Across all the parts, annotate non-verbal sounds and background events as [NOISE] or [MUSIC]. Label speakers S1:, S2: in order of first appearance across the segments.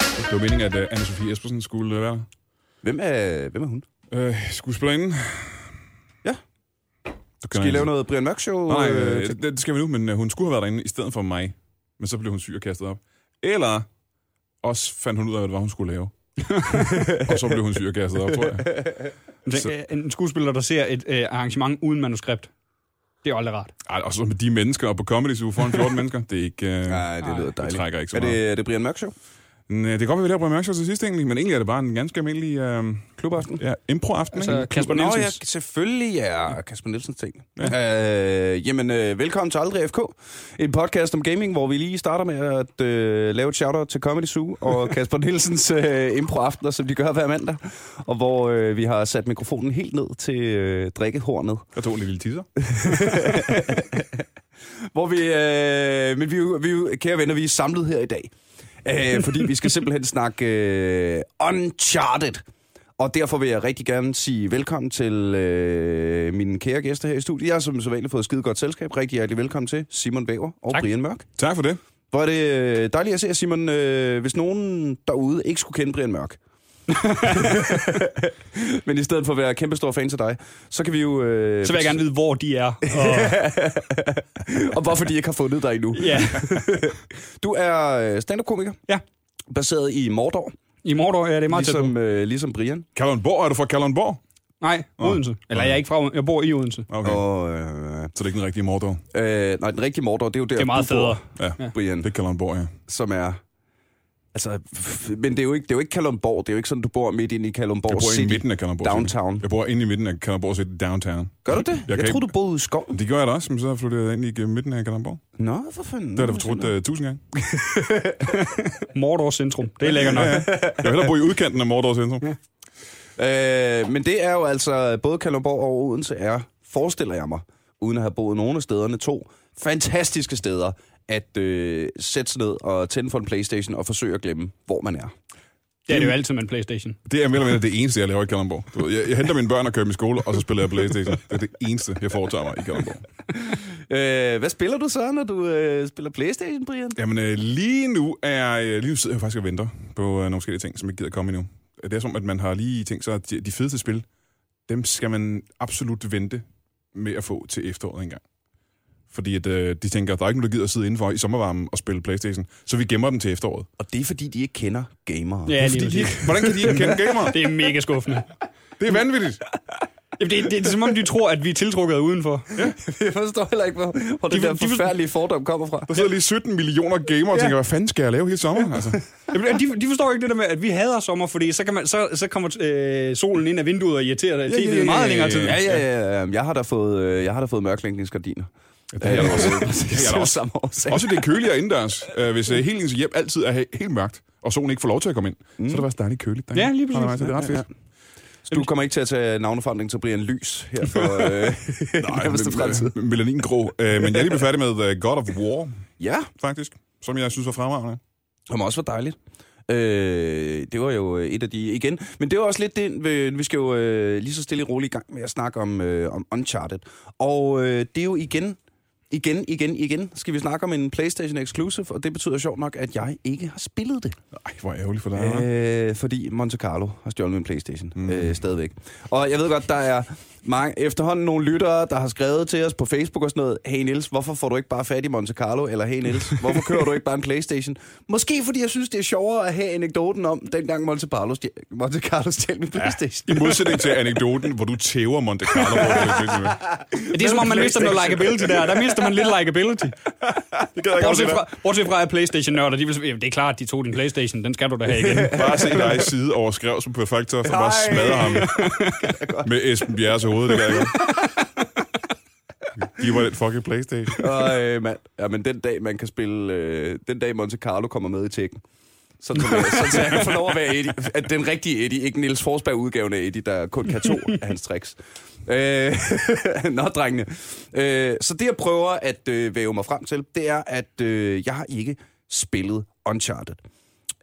S1: Det var meningen, at uh, Anne-Sophie Espersen skulle uh, være
S2: Hvem er, hvem er hun?
S1: uh, skuespillerinde.
S2: Ja.
S1: Du kan
S2: Skal I lave noget Brian Mørk show?
S1: Nej, øh, det, det skal vi nu, men øh, hun skulle have været derinde i stedet for mig. Men så blev hun syg og kastet op. Eller også fandt hun ud af, hvad det var, hun skulle
S2: [LAUGHS]
S1: lave. og så blev hun syg og kastet op, tror jeg.
S3: Det, en skuespiller, der ser et øh, arrangement uden manuskript, det er jo aldrig rart.
S1: Ej, og så med de mennesker og på Comedy Zoo foran 14 mennesker, det er ikke... Øh,
S2: Nej, det lyder Ah, dejligt.
S1: trækker ikke så
S2: er det, er det Brian Mørk show?
S1: Næh, det kan godt være, at vi laver mørkshow til sidst egentlig, men egentlig er det bare en ganske almindelig øh,
S2: Klubaften?
S1: ja, impro-aften.
S3: Altså,
S1: ikke?
S3: Kasper
S2: Nå ja,
S3: Nielsens.
S2: selvfølgelig er Kasper Nielsen ting. Ja. Øh, jamen, øh, velkommen til Aldrig FK. En podcast om gaming, hvor vi lige starter med at øh, lave et shout-out til Comedy Zoo
S1: [LAUGHS]
S2: og Kasper Nielsens øh, improaftener, som de gør hver mandag. Og hvor øh, vi har sat mikrofonen helt ned til øh, drikkehornet.
S1: Der tog en lille teaser.
S2: Hvor vi, øh, men vi, er jo- vi, er jo- kære venner, vi er samlet her i dag. Øh, fordi vi skal
S3: [LAUGHS]
S2: simpelthen snakke øh, Uncharted. Og derfor vil jeg rigtig gerne sige velkommen til øh, mine kære gæster her i studiet. Jeg har som sædvanligt fået et skide godt selskab. Rigtig hjertelig velkommen til Simon Bæver og tak. Brian Mørk.
S1: Tak for det.
S2: Hvor er det øh, dejligt at se, jer, Simon, øh, hvis nogen derude ikke skulle kende Brian
S3: [LAUGHS]
S2: Mørk. [LAUGHS] Men i stedet for at være kæmpestor fan til dig, så kan vi jo... Øh,
S3: Så vil jeg gerne vide, hvor de er.
S1: [LAUGHS]
S3: Og,
S2: [LAUGHS] Og hvorfor de ikke har fundet dig endnu.
S3: ja.
S2: Du er øh, stand-up-komiker.
S3: ja.
S2: baseret i Mordor,
S3: I Mordor, ja, det er meget ligesom...
S2: ligesom, øh, ligesom Brian.
S1: Kalundborg, er du fra Kalundborg?
S3: Nej, Odense. Eller jeg er ikke fra Odense. Jeg bor i Odense.
S1: Okay,
S2: Okay. Og, øh,
S1: så det er ikke den rigtige Mordor.
S2: øh, nej, den rigtige Mordor, det er jo der,
S3: Det er meget
S2: du bor,
S3: federe.
S1: Ja,
S2: Brian,
S1: det er Kalundborg, ja.
S2: som er... Altså, f- men det er, jo ikke, det er jo ikke Kalumborg. Det er jo ikke sådan, du bor midt inde i Kalumborg
S1: Jeg bor
S2: City.
S1: inde i midten af Kalundborg. City.
S2: Downtown.
S1: Jeg bor inde i midten af Kalundborg City, downtown.
S2: Gør du det? Jeg,
S1: kan
S2: jeg troede,
S1: ikke-
S2: du boede ude i skoven.
S1: Det gjorde jeg da også, men så flyttede jeg ind i øh, midten af Kalundborg.
S2: Nå, for fanden.
S1: Det har jeg da fortrudt uh, tusind gange.
S3: Mordor Centrum. Det er lækkert nok.
S1: Jeg vil hellere bo i udkanten af Mordor Centrum.
S2: Øh, men det er jo altså, både Kalumborg og Odense er, forestiller jeg mig, uden at have boet nogen af stederne, to fantastiske steder at øh, sætte sig ned og tænde for en Playstation og forsøge at glemme, hvor man er.
S3: Det er det jo altid med en Playstation.
S1: Det er mere eller mindre det eneste, jeg laver i Kalundborg. Du ved, Jeg, jeg henter mine børn og kører dem i skole, og så spiller jeg Playstation. Det er det eneste, jeg foretager mig i Kalundborg.
S2: Øh, hvad spiller du så, når du øh, spiller Playstation, Brian?
S1: Jamen, øh, lige nu er jeg, øh, lige nu sidder jeg faktisk og venter på øh, nogle forskellige ting, som ikke gider komme endnu. Det er som, at man har lige tænkt sig, at de, de fedeste spil, dem skal man absolut vente med at få til efteråret engang. Fordi at, øh, de tænker, at der er ikke nogen, der gider at sidde indenfor i sommervarmen og spille Playstation, så vi gemmer dem til efteråret.
S2: Og det er, fordi de ikke kender gamere.
S3: Ja, lige
S1: Fordi de,
S3: præcis.
S1: ikke- hvordan kan de ikke
S3: [LAUGHS]
S1: kende gamere?
S3: Det er mega skuffende.
S1: Det er vanvittigt.
S3: Jamen, det, det, det, er som om, de tror, at vi er tiltrukket af udenfor.
S2: [LAUGHS] Jeg forstår heller ikke, hvor, hvor de, det
S3: vil-
S2: der
S3: de vil-
S2: forfærdelige fordom kommer fra.
S1: Der sidder lige 17 millioner gamere og tænker, hvad fanden skal jeg lave hele sommeren?
S3: [LAUGHS]
S1: Altså.
S3: Jamen, de, de forstår ikke det der med, at vi hader sommer, fordi så, kan man, så, så kommer øh, solen ind af vinduet og irriterer dig. Det er meget længere tid.
S1: ja,
S2: Ja, ja, ja. ja. Jeg har da fået, øh, jeg har da fået mørklægningsgardiner. Ja, [LAUGHS] det
S1: har jeg da også. Det har jeg da
S2: også.
S1: også.
S2: samme årsag.
S1: Også det er køligere indendørs, øh, hvis øh, hele ens hjem altid er he- helt mørkt, og solen ikke får lov til at komme ind. Mm. Så er det bare dejligt køligt. derinde.
S3: Ja, lige præcis.
S1: Hold da, altså, Det er ret fedt.
S2: Så du kommer ikke til at tage navneforandring til Brian Lys her for øh,
S1: Nej,
S2: nærmeste fremtid.
S1: men, øh, melaningrå. Øh, men jeg er lige blevet færdig med øh, God of War,
S2: Ja,
S1: faktisk, som jeg synes var fremragende.
S2: som også var dejligt. Øh, det var jo øh, et af de igen. Men det var også lidt det, øh, vi skal jo øh, lige så stille og roligt i gang med at snakke om, øh, om Uncharted. Og øh, det er jo igen, igen, igen, igen, skal vi snakke om en PlayStation Exclusive, og det betyder sjovt nok, at jeg ikke har spillet det.
S1: Ej, hvor ærgerligt for dig. hva'?
S2: Øh, fordi Monte Carlo har stjålet min Playstation mm. øh, stadigvæk. Og jeg ved godt, der er mange, efterhånden nogle lyttere, der har skrevet til os på Facebook og sådan noget, hey Niels, hvorfor får du ikke bare fat i Monte Carlo? Eller
S1: [LAUGHS]
S2: hey Niels, hvorfor kører du ikke bare en Playstation? Måske fordi jeg synes, det er sjovere at have anekdoten om, dengang Monte, Carlo stjæl, Monte Carlo stjal min Playstation.
S1: I modsætning til anekdoten, hvor du tæver Monte Carlo. hvor du er lidt med.
S3: Men Det er som om, man mister noget likability der. Der mister man lidt likability.
S1: [LAUGHS] Det gad jeg godt til
S3: Bortset
S1: dig.
S3: fra, bortset fra at Playstation-nørder, de vil, sige, "Jamen, det er klart, de tog din Playstation, den skal du da
S1: [LAUGHS]
S3: have igen.
S1: Bare se dig side over skrevs på Perfektor, som bare
S2: Ej.
S1: smadrer [LAUGHS] ham med Esben Bjerres hoved. Det gad jeg godt. Giv mig den fucking Playstation.
S2: [LAUGHS] Og øh, mand, ja, men den dag, man kan spille, øh, den dag Monte Carlo kommer med i tækken, så, så, så jeg kan få lov at være Eddie, at den rigtige Eddie, ikke Niels Forsberg udgaven af Eddie, der kun kan to af hans tricks. Øh, [LAUGHS] nå, drengene. Øh, så det, jeg prøver at øh, væve mig frem til, det er, at øh, jeg har ikke spillet Uncharted.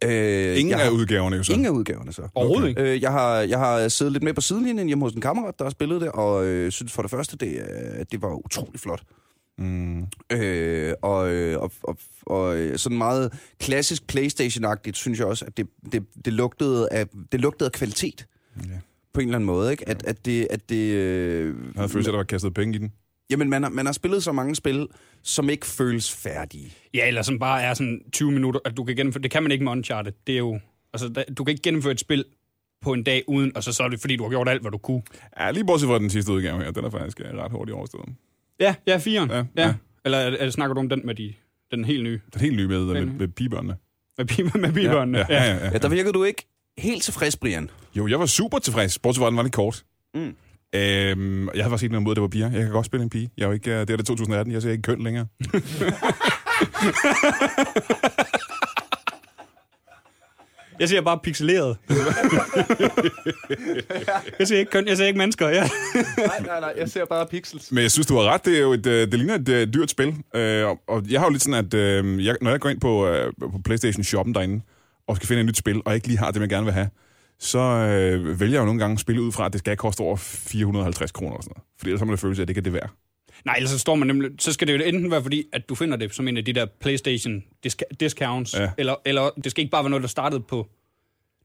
S2: Øh,
S1: Ingen
S2: jeg har-
S1: af udgaverne jo så.
S2: Ingen af udgaverne så.
S3: Overhovedet ikke.
S2: Øh, jeg, har, jeg har siddet lidt med på sidelinjen hjemme hos en kammerat, der har spillet det, og øh, synes for det første, det, øh, det var utrolig flot.
S1: Mm.
S2: Øh, og, øh, og, og, og øh, sådan meget klassisk Playstation-agtigt, synes jeg også, at det, det, det, lugtede, af, det lugtede af kvalitet
S1: Ja.
S2: på en eller anden måde, ikke? At, at det... At det øh,
S1: Jeg havde følelsen, at der var kastet penge i den.
S2: jamen, man har, man har spillet så mange spil, som ikke føles færdige.
S3: Ja, eller som bare er sådan 20 minutter, at du kan gennemføre... Det kan man ikke med Uncharted. Det er jo... Altså, der, du kan ikke gennemføre et spil på en dag uden, og så, så er det fordi, du har gjort alt, hvad du kunne.
S1: Ja, lige bortset fra den sidste udgave her. Den er faktisk øh, ret hurtigt overstået.
S3: Ja, ja, firen.
S1: Ja,
S3: Ja,
S1: ja.
S3: ja. Eller er, er, snakker du om den med de, den helt nye?
S1: Den helt nye med, med,
S3: Men-
S1: med pibørnene.
S3: Med, bi- [LAUGHS] med bibørnene?
S1: Ja, ja, ja, ja.
S2: Ja, der virkede du ikke helt tilfreds, Brian.
S1: Jo, jeg var super tilfreds, bortset fra, at den var lidt kort.
S2: Mm.
S1: Øhm, jeg havde faktisk ikke noget imod, at det var piger. Jeg kan godt spille en pige. Jeg er jo ikke, øh, det er det 2018, jeg ser ikke køn længere.
S3: Jeg siger bare pixeleret. [LAUGHS] jeg siger ikke køn, jeg siger ikke mennesker. Ja.
S2: Nej, nej, nej, jeg ser bare pixels.
S1: Men jeg synes, du har ret. Det, er jo et, øh, det ligner et øh, dyrt spil. Øh, og- og jeg har jo lidt sådan, at øh, jeg, når jeg går ind på, øh, på PlayStation Shoppen derinde, og skal finde et nyt spil, og ikke lige har det, jeg gerne vil have, så øh, vælger jeg jo nogle gange at spille ud fra, at det skal koste over 450 kroner og sådan noget. Fordi ellers har man det følelse af, at det ikke er det værd.
S3: Nej, ellers så står man nemlig... Så skal det jo enten være fordi, at du finder det som en af de der Playstation disk- discounts,
S1: Ja.
S3: ja. eller, eller det skal ikke bare være noget, der startede på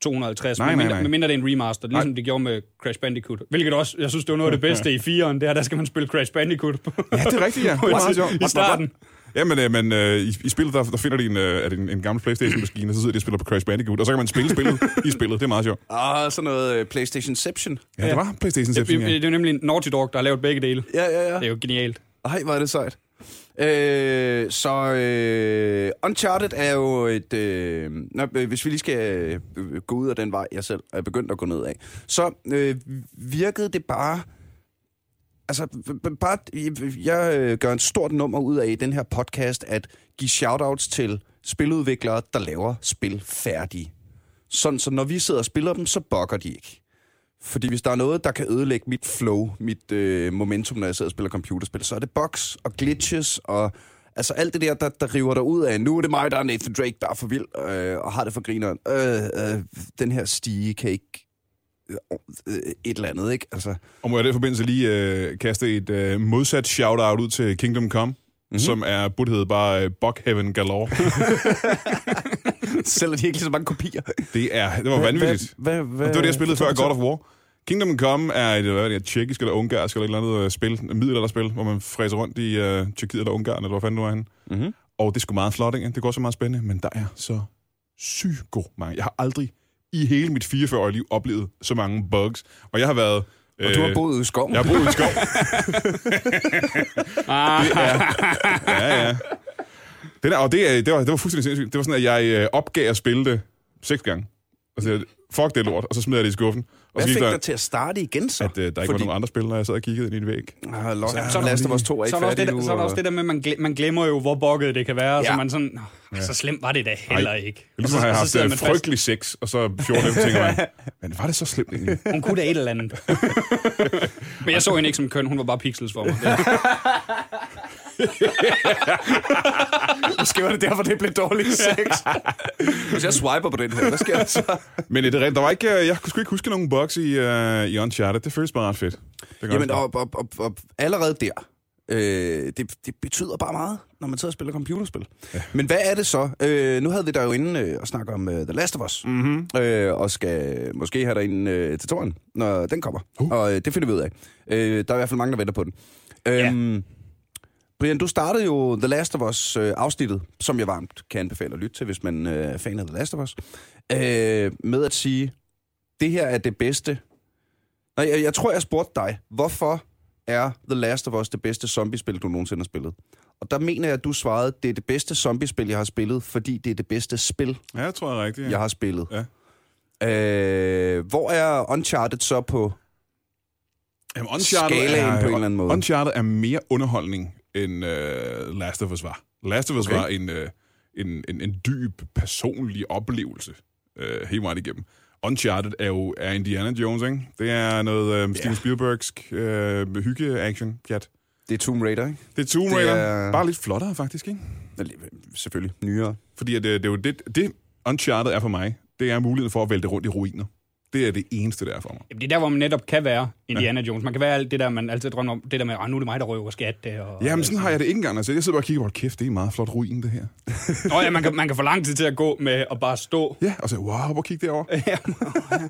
S3: 250,
S1: Nej,
S3: nej,
S1: nej,
S3: mindre,
S1: nej.
S3: med mindre det er en remaster, ligesom
S1: Nej.
S3: nej. det gjorde med Crash Bandicoot. Hvilket også, jeg synes, det var noget af det bedste i 4'eren, det er, der skal man spille Crash Bandicoot på.
S1: Ja,
S3: [LAUGHS]
S1: det er rigtigt, ja. Det er meget sjovt.
S3: I starten.
S1: Ja, men, øh, men øh, i, i spillet, der, der finder de en, øh, er det en, en gammel Playstation-maskine, og så sidder de og spiller på Crash Bandicoot, og så kan man spille spillet i spillet. Det er meget sjovt.
S2: Ah, sådan noget øh, PlayStationception.
S1: Ja, det var playstation
S3: Det,
S1: ja.
S3: det, det er jo nemlig Naughty Dog, der har lavet begge dele.
S2: Ja, ja, ja.
S3: Det er jo genialt.
S2: Ej, hvor er det sejt. Øh, så øh, Uncharted er jo et... Øh, nå, øh, hvis vi lige skal øh, gå ud af den vej, jeg selv er begyndt at gå ned af, så øh, virkede det bare... Altså, b- b- bare, jeg øh, gør en stort nummer ud af i den her podcast, at give shoutouts til spiludviklere, der laver spil færdige. Sådan, så når vi sidder og spiller dem, så bokker de ikke. Fordi hvis der er noget, der kan ødelægge mit flow, mit øh, momentum, når jeg sidder og spiller computerspil, så er det box og glitches og altså alt det der, der, der river dig ud af. Nu er det mig, der er Nathan Drake, der er for vild øh, og har det for grineren. Øh, øh, den her stige kan ikke... Øh, øh, et eller andet, ikke? Altså, [LAUGHS]
S1: Og må jeg i den forbindelse lige øh, kaste et øh, modsat shout-out ud til Kingdom Come, mm-hmm. som er buthed bare øh, Buck Heaven Galore.
S2: sælger de ikke lige så mange kopier.
S1: det, er, det var vanvittigt.
S2: Hvad, hvad, hvad,
S1: Det var det, jeg spillede før God of War. Kingdom Come er et, hvad er det, et tjekkisk eller ungarsk eller et eller andet øh, spil, et middelalderspil, hvor man fræser rundt i øh, Tjekkiet eller Ungarn, eller hvor fanden nu er han.
S2: Mhm.
S1: Og det er sgu meget flot, ikke? Det går så meget spændende, men der er så psyko mange. Jeg har aldrig i hele mit 44-årige liv oplevet så mange bugs. Og jeg har været... Øh,
S2: Og du har boet ude i skoven.
S1: Jeg har boet i en skov.
S3: Ah,
S1: ja, ja. Det der, og det, er- det, var, det var fuldstændig sindssygt. Det var sådan, at jeg øh, opgav at spille det seks gange. Og så sagde jeg, fuck det lort, og så smed jeg det i skuffen. Og
S2: Hvad
S1: så
S2: fik
S1: der,
S2: dig til at starte igen så?
S1: at øh, der ikke var
S2: Fordi-
S1: nogen andre spil, når jeg sad og kiggede ind i en væg.
S2: Ah, Lord,
S3: så
S2: så
S3: er
S2: er
S3: der
S2: der vores to er ikke
S3: så, er der også det,
S2: færdige
S3: der,
S2: nu,
S3: så er der også
S2: og-
S3: det der med, at man, gle- man glemmer jo, hvor bokket det kan være, ja. så
S2: Ja.
S3: man sådan, "Åh, så slemt var det da heller ikke. Og
S1: Ligesom
S3: så,
S1: har jeg
S3: og så
S1: haft
S3: sidder
S1: øh,
S3: man fast.
S1: frygtelig sex, og så 14 efter tænker
S3: [LAUGHS]
S1: man, men var det så slemt egentlig?
S3: Hun kunne da et eller andet. [LAUGHS] Men jeg så hende ikke som køn, hun var bare pixels for mig. [LAUGHS]
S2: Måske var det derfor, det blev dårlig [LAUGHS] sex. Hvis jeg swiper på den her, hvad sker der så?
S1: Men øh, det er rent, der var ikke, øh, jeg kunne sgu ikke huske nogen bugs i, uh, i Uncharted. Det føles bare ret fedt. Det gør
S2: Jamen,
S1: det.
S2: og, og, og, og allerede der, øh, det, det betyder bare meget, når man sidder og spiller computerspil. Ja. Men hvad er det så? Øh, nu havde vi dig jo inde øh, og snakke om øh, The Last of Us, mm-hmm. øh, og skal måske have dig inde øh, til toren, når den kommer. Uh. Og øh, det finder vi ud af. Øh, der er i hvert fald mange, der venter på den. Øhm, Brian, du startede jo The Last of Us øh, afsnittet, som jeg varmt kan anbefale at lytte til, hvis man øh, er fan af The Last of Us, øh, med at sige, det her er det bedste. Nej, jeg, jeg tror, jeg spurgte dig, hvorfor er The Last of Us det bedste zombiespil, du nogensinde har spillet? Og der mener jeg, at du svarede, det er det bedste zombiespil, jeg har spillet, fordi det er det bedste spil,
S1: Ja, det tror jeg er rigtigt.
S2: jeg
S1: Ja.
S2: har spillet.
S1: Ja.
S2: Øh, hvor er Uncharted så på?
S1: Jamen,
S2: Skalaen på en eller anden måde.
S1: Uncharted er mere underholdning, end uh, Last of Us var. Last of Us okay.
S2: Okay.
S1: var en, uh, en, en, en dyb, personlig oplevelse uh, hele vejen igennem. Uncharted er jo er Indiana Jones, ikke? Det er noget uh, Steven
S2: Ja.
S1: Spielbergsk uh, hygge-action-pjat.
S2: Det er Tomb Raider, ikke?
S1: Det er Tomb
S2: Det
S1: Raider.
S2: er-
S1: Bare lidt flottere, faktisk, ikke?
S2: Eller, Selvfølgelig. Nyere.
S1: Fordi at, øh, det er jo det, det Uncharted er for mig, det er muligheden for at vælte rundt i ruiner. Det er det eneste, der er for mig.
S3: Jamen, det er der, hvor man netop kan være Indiana Jones. Man kan være alt det der, man altid drømmer om. Det der med, at nu er det mig, der røver skat. øh, Og,
S1: Jamen, sådan har jeg det ikke engang. Altså, jeg sidder bare og kigger på, kæft, det er en meget flot ruin, det her.
S3: Nå ja, man kan, man kan få lang tid til at gå med og bare [LAUGHS] stå.
S1: Ja, og så, wow, hvor kig
S2: [LAUGHS]
S1: derovre.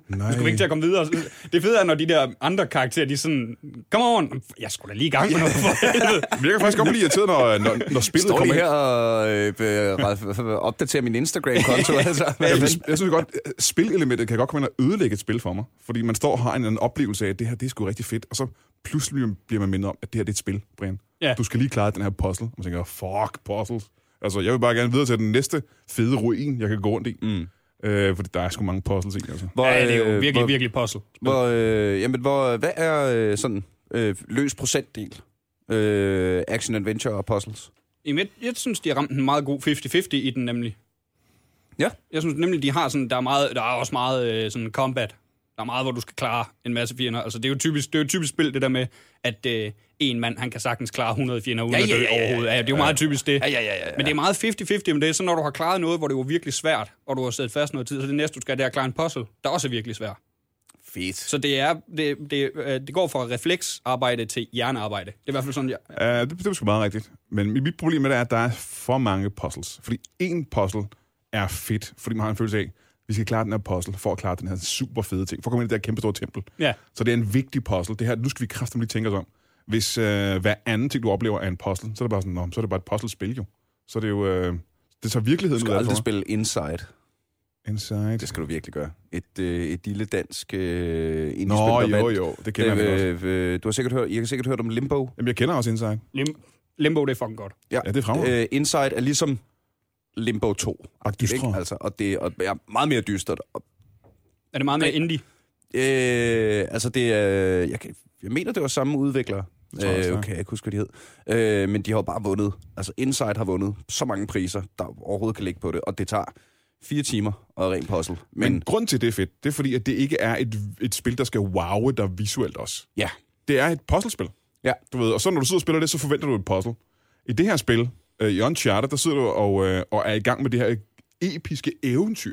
S1: Nej.
S3: Du skal ikke til at komme videre. Det fede er, når de der andre karakterer, de er sådan, kom on, jeg skulle da lige i gang med noget [LAUGHS] for helvede.
S1: Men jeg kan
S2: [LAUGHS]
S1: faktisk godt blive irriteret, når, når, når spillet
S2: Står lige
S1: kommer
S2: her og øh, øh, ret- opdaterer min Instagram-konto. [LAUGHS] altså.
S1: Jeg, jeg synes godt, øh, spilelementet kan godt komme ind og ødelægge et spil for mig. Fordi man står og har en eller anden oplevelse af, at det her det er sgu rigtig fedt. Og så pludselig bliver- bliver man mindet om, at det her det er et spil, Brian.
S3: Ja.
S1: Du skal lige klare den her puzzle. Og man tænker, fuck puzzles. Altså, jeg vil bare gerne videre til den næste fede ruin, jeg kan gå rundt i. Mm. Øh, fordi der er sgu mange puzzles i, altså.
S2: Hvor,
S3: Ja, det er
S2: øh,
S3: jo virkelig,
S2: hvor,
S3: virkelig puzzle.
S2: Hvor, øh, jamen, hvor, hvad er øh, sådan øh, løs procentdel? Øh, action, adventure og puzzles.
S3: Jamen, jeg, jeg synes, de har ramt en meget god 50-50 i den nemlig.
S2: Ja.
S3: Jeg synes nemlig, de har sådan, der er, meget, der er også meget øh, sådan combat. Der er meget, hvor du skal klare en masse fjender. Altså, det er jo typisk, det er jo et typisk spil, det der med, at øh, en mand, han kan sagtens klare 100 fjender uden
S2: Ja,
S3: at
S2: ja,
S3: dø
S2: ja, ja, ja.
S3: overhovedet. Ja, det er jo meget typisk det.
S2: ja, ja.
S3: Men det er meget 50-50, men det er så, når du har klaret noget, hvor det jo er virkelig svært, og du har siddet fast noget tid, så det næste, du skal, det er at klare en puzzle, der også er virkelig svært.
S2: fedt.
S3: Så det, er, det, det, øh, det går fra refleksarbejde til hjernearbejde. Det er i hvert fald sådan, jeg...
S1: Uh, det, det er sgu meget rigtigt. Men mit mit problem med det er, at der er for mange puzzles. Fordi en puzzle er fedt, fordi man har en følelse af, vi skal klare den her puzzle for at klare den her super fede ting. For at komme ind i det der kæmpe store tempel.
S3: Ja.
S1: Så det er en vigtig puzzle. Det her, nu skal vi kraftigt lige tænke os om. Hvis øh, hver anden ting, du oplever, er en puzzle, så er det bare sådan, Nå, men så er det bare et puzzlespil jo. Så er det jo... Øh, det tager
S2: Du
S1: virkeligheden ud
S2: skal
S1: af det
S2: aldrig
S1: for mig.
S2: spille Inside.
S1: Inside.
S2: Det skal du virkelig gøre. Et, øh, et lille dansk øh, indiespil,
S1: Nå,
S2: der
S1: jo,
S2: vandt.
S1: jo. Det kender jeg godt.
S2: øh, øh, du har sikkert hørt, I har sikkert hørt om Limbo.
S1: Jamen, jeg kender også Inside.
S3: Lim, limbo, det er fucking godt.
S1: Ja, det er fremragende.
S2: Øh, Inside er ligesom Limbo 2.
S1: Og dystre.
S2: Ikke? Altså, og det er og, ja, meget mere dystert. Og,
S3: Er det meget mere indie?
S2: øh, altså, det er... Jeg, kan, jeg mener, det var samme udvikler.
S1: tror jeg også, det
S2: øh,
S1: er.
S2: okay, jeg kan ikke huske, hvad de hed. Øh, men de har jo bare vundet. Altså, Inside har vundet så mange priser, der overhovedet kan ligge på det. Og det tager fire timer og er ren puzzle. Men,
S1: Men,
S2: men
S1: grund til, det er fedt, det er fordi, at det ikke er et, et spil, der skal wowe dig visuelt også.
S2: ja,
S1: det er et puzzlespil.
S2: Ja.
S1: Du ved, og så når du sidder og spiller det, så forventer du et puzzle. I det her spil, øh, i Uncharted, der sidder du og, øh, og er i gang med det her episke eventyr.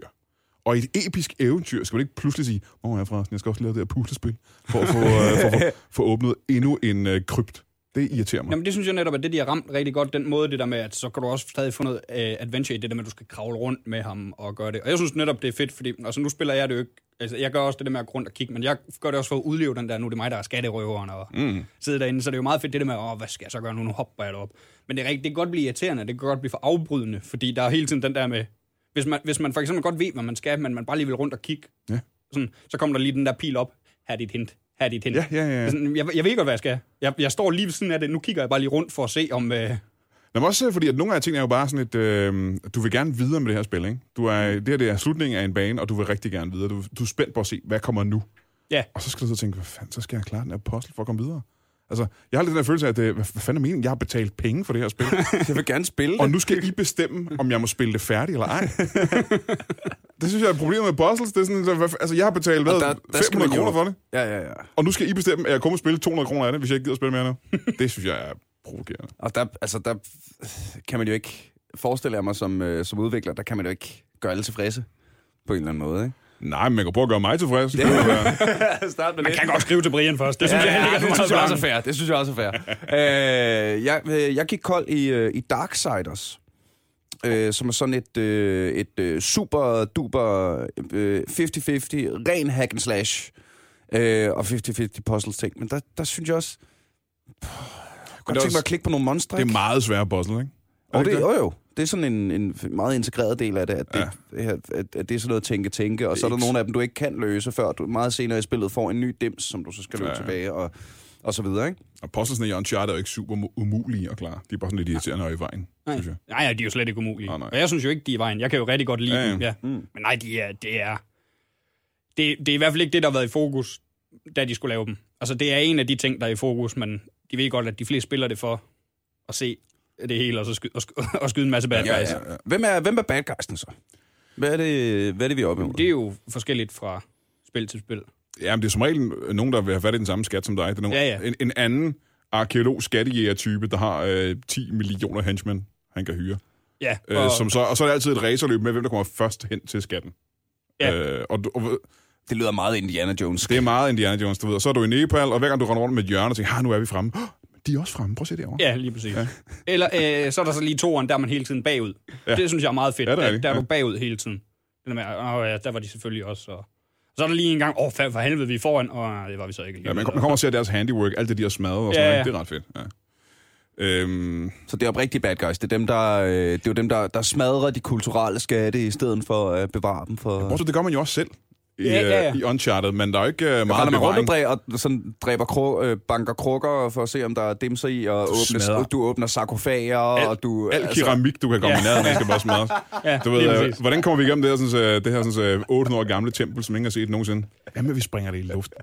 S1: Og i et episk eventyr skal man ikke pludselig sige, åh, jeg, er forresten, jeg skal også lave det her puslespil, for at få, øh, for, for, for åbnet endnu en øh, krypt. Det irriterer mig.
S3: Jamen, det synes jeg netop, at det, de har ramt rigtig godt, den måde, det der med, at så kan du også stadig få noget uh, adventure i det der med, at du skal kravle rundt med ham og gøre det. Og jeg synes netop, det er fedt, fordi altså, nu spiller jeg det jo ikke. Altså, jeg gør også det der med at gå rundt og kigge, men jeg gør det også for at udleve den der, nu er det mig, der er skatterøveren og mm. sidde derinde. Så det er jo meget fedt det der med, åh, hvad skal jeg så gøre nu, nu hopper jeg derop. Men det, er rigtigt, det kan godt blive irriterende, det kan godt blive for afbrydende, fordi der er hele tiden den der med, hvis man, hvis man for eksempel godt ved, hvad man skal, men man bare lige vil rundt og kigge,
S1: Ja.
S3: sådan, så kommer der lige den der pil op, her er dit hint, her er dit hint.
S1: Ja, ja, ja, ja.
S3: Sådan, jeg, jeg ved ikke, godt, hvad jeg skal. Jeg, jeg står lige ved siden af det. Nu kigger jeg bare lige rundt for at se, om... Øh,
S1: Nå, men også øh, fordi, at nogle af tingene er jo bare sådan et, øh, du vil gerne videre med det her spil, ikke? Du er, det her det er slutningen af en bane, og du vil rigtig gerne videre. Du, du er spændt på at se, hvad kommer nu.
S3: ja,
S1: Og så skal du så tænke, hvad fanden, så skal jeg klare den her puzzle for at komme videre. Altså, jeg har lidt den her følelse af, at øh, hvad hvad fanden er meningen? Jeg har betalt penge for det her
S2: [LAUGHS]
S1: spil,
S2: jeg vil gerne spille
S1: og
S2: det.
S1: nu skal I bestemme, om jeg må spille det færdigt eller
S2: [LAUGHS]
S1: ej. det synes jeg er problemet med puzzles. Det er sådan, så hvad f- altså, jeg har betalt hvad,
S2: Og der- der skal
S1: 500
S2: man jo-
S1: kroner for det,
S2: Ja, ja, ja.
S1: og nu skal I bestemme, at jeg kommer og spille 200 kroner af det, hvis jeg ikke gider at spille mere nu.
S2: [LAUGHS]
S1: Det synes jeg er provokerende.
S2: Og der, altså, der kan man jo ikke, forestille jeg mig som, øh, som udvikler, der kan man jo ikke gøre alle tilfredse på en eller anden måde, ikke?
S1: Nej, men man kan prøve at gøre mig tilfreds. Det kunne være-
S2: [LAUGHS] Start med
S3: man kan godt skrive til Brian først. Det synes ja, jeg heller ikke
S2: det synes jeg
S3: er
S2: også
S3: så
S2: er
S3: meget
S2: fair. Det synes jeg også er fair. øh, jeg, øh, jeg gik kold i, øh, i Darksiders, øh, som er sådan et, øh, et øh, super duper øh, 50-50, ren hack and slash øh, og 50-50 puzzles ting. Men der, der synes jeg også... Puh, jeg kunne
S1: det er
S2: godt tænke mig
S1: også-
S2: at klikke på nogle monstre.
S1: det
S2: ikke?
S1: er meget svære puzzle, ikke? Er
S2: Og
S1: det
S2: det,
S1: ikke
S2: jo, jo. Det er sådan en, en meget integreret del af det, at det,
S1: Ja.
S2: det her, at, at det er sådan noget tænke-tænke, og
S1: Det er
S2: så er der
S1: ikke-
S2: nogle af dem, du ikke kan løse, før du meget senere i spillet får en ny dims, som du så skal løbe
S1: Ja.
S2: ja. tilbage, og, og så videre, ikke?
S1: Og puzzlesne i Uncharted er jo ikke super mu- umulige at klare. De er bare sådan lidt irriterende og i vejen, synes jeg.
S3: Nej, nej, ja, de er jo slet ikke umulige.
S1: Nej, nej.
S3: Og jeg synes jo ikke, de er i vejen. Jeg kan jo rigtig godt lide
S1: Ja, Mm. ja.
S3: dem. Ja. Men nej, de er, det er... Det, det er i hvert fald ikke det, der har været i fokus, da de skulle lave dem. Altså, det er en af de ting, der er i fokus, men de ved godt, at de fleste spiller det for at se det hele, og så skyde, og skyde, [LAUGHS] og skyde en masse bad guys.
S2: ja. Hvem er, hvem er bad guysen så? Hvad er det, hvad er det vi er oppe imod?
S3: Det er jo forskelligt fra spil til spil.
S1: Ja, men det er som regel øh, nogen, der vil have fat i den samme skat som dig. Det er nogen,
S3: Ja, ja.
S1: En, en anden arkeolog skattejæger type der har øh, 10 millioner henchmen, han kan hyre.
S3: Ja,
S1: Øh, som så, og så er det altid et racerløb med, hvem der kommer først hen til skatten.
S3: Ja.
S1: Øh, og, du- og,
S2: Det lyder meget Indiana Jones.
S1: Det er meget Indiana Jones, du ved. Og så er du i Nepal, og hver gang du render rundt med et hjørne og tænker, "Ah, nu er vi fremme. "Åh, De er også fremme. Prøv at se derovre.
S3: Ja, lige præcis. Ja. Eller øh, så er der så lige toeren, der er man hele tiden bagud. Ja. Det synes jeg er meget fedt.
S1: Ja,
S3: Ja,
S1: det er
S3: der,
S1: rigtigt.
S3: der er du
S1: Ja.
S3: bagud hele tiden. Den der, med, åh, ja, der var de selvfølgelig også. Og... Så er der lige en gang, åh, oh, for helvede, vi er foran. Og nej, det var vi så ikke lige.
S1: Ja, man, man kommer og ser deres handiwork, alt det, de har smadret og
S3: Ja,
S1: sådan ja,
S3: ja.
S1: ja. Det er ret fedt. Ja. Øhm,
S2: Så det er oprigtige bad guys. Det er dem, der, øh, det er jo dem, der, der smadrer de kulturelle skatte, i stedet for at bevare dem for...
S1: bortset, det gør man jo også selv i,
S3: Ja, ja, ja.
S1: øh, i Uncharted, men der er jo ikke øh,
S2: Meget
S1: meget
S2: man rundt og,
S1: bevaring.
S2: dræ, og sådan dræber kro, øh, banker krukker for at se, om der er dimser i, og
S1: smadrer.
S2: åbner, du åbner sarkofager, og du... altså,
S1: Al keramik, du kan komme
S3: altså- Ja.
S1: i nærheden af, skal bare smadres.
S3: [LAUGHS] Ja,
S1: Du ved,
S3: lige
S1: øh,
S3: præcis.
S1: hvordan kommer vi igennem det her, sådan, øh, det her sådan, øh, 800 år gamle tempel, som ingen har set nogensinde? Jamen, vi springer det i luften.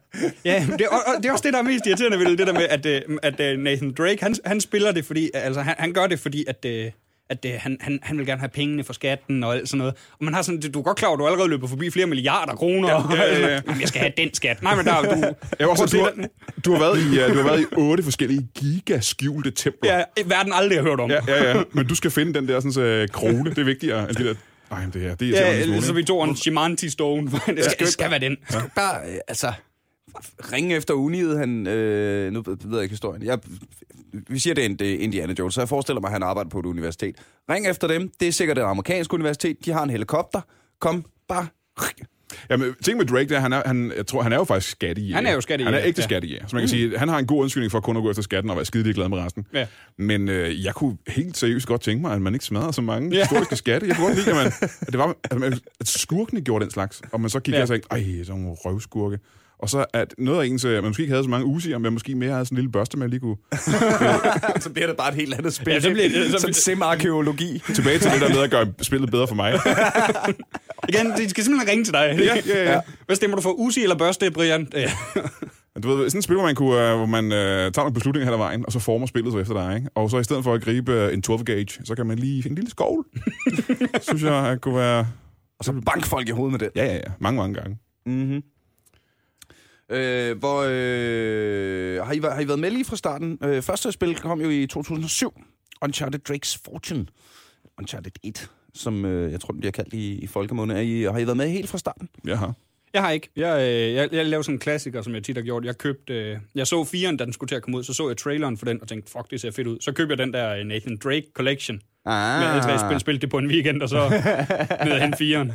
S3: Ja, men det, og, og, det er også det, der er mest irriterende ved det, det der med, at, øh, at øh, Nathan Drake, han, han spiller det, fordi, altså han, han gør det, fordi at, øh, at øh, han, han, han vil gerne have pengene for skatten og alt sådan noget. Og man har sådan, du er godt klar, over, at du allerede løber forbi flere milliarder kroner. Ja,
S1: ja, ja, ja.
S3: Jamen, jeg skal have den skat. Nej, men der er du...
S1: Ja, også,
S3: Prøv
S1: du,
S3: at se
S1: har, du, har været i, øh, du har været i otte forskellige gigaskjulte templer.
S3: den. Ja, verden aldrig har hørt om.
S1: Ja, ja, ja. Men du skal finde den der sådan, så, krone. Det er vigtigere end det der... Ej, men det her, det er
S3: Ja,
S1: irriterende en lille
S3: eller så
S1: smule,
S3: vi
S1: ikke?
S3: tog en Chimanti Stone. [LAUGHS] det, skal, det skal være den.
S2: skal bare, øh, altså, ringe efter uniet, han, øh, nu ved jeg ikke historien, jeg, vi siger, det er en- det er Indiana Jones, så jeg forestiller mig, at han arbejder på et universitet. Ring efter dem, det er sikkert et amerikansk universitet, de har en helikopter, kom, bare, [LAUGHS]
S1: Jamen, ting med Drake, det er, han er, han, jeg tror, han er jo faktisk skattejæger.
S3: Han er jo skattejæger,
S1: Han er ægte
S3: ja.
S1: skattejæger. Så man kan mm. sige, han har en god undskyldning for kun at gå efter skatten og være skide glad med resten.
S3: Ja.
S1: Men øh, jeg kunne helt seriøst godt tænke mig, at man ikke smadrede så mange
S3: Ja.
S1: ja. historiske skatte. Jeg kunne godt lide, at, man,
S3: [LAUGHS]
S1: at, det var, at, man, at skurkene gjorde den slags. Og man så gik
S3: Ja.
S1: ja. og tænkte, ej, sådan nogle røvskurke. Og så at noget af ens, øh, man måske ikke havde så mange usiger, men måske mere havde sådan en lille børste, man lige kunne
S2: så bliver det bare et helt andet spil.
S3: Ja, så bliver det- så-
S2: Sådan sim-arkeologi.
S1: tilbage til det der med at gøre spillet bedre for
S3: [LAUGHS]
S1: mig.
S3: Igen, de skal simpelthen ringe til dig.
S1: Ja, ja, ja.
S3: [LAUGHS] Hvad stemmer du for? Usi eller børste, Brian? Ja.
S1: Men Du ved, sådan et spil, hvor man, kunne, øh, hvor man øh, tager nogle beslutninger hen ad vejen, og så former spillet sig efter dig. Ikke? Og så i stedet for at gribe øh, en 12 gauge, så kan man lige finde en lille [LAUGHS] skovl. synes jeg at kunne være...
S2: Og så bank folk i hovedet med det.
S1: Ja, ja, ja. Mange, mange gange.
S2: Mm-hmm. Øh, hvor, øh, har, I, væ- har I været med lige fra starten? Øh, første spil kom jo i 2007. Uncharted Drake's Fortune. Uncharted 1, som øh, jeg tror, den bliver kaldt i, i folkemunde. Er I, har I været med helt fra starten?
S1: Jeg har.
S3: Jeg har ikke. Jeg, øh, jeg, jeg lavede sådan en klassiker, som jeg tit har gjort. Jeg købte, øh, jeg så firen, da den skulle til at komme ud, så så jeg traileren for den, og tænkte, fuck, det ser fedt ud. Så købte jeg den der øh, Nathan Drake Collection.
S2: Ah.
S3: Med alle tre spil, spilte det på en weekend, og så ned hen firen.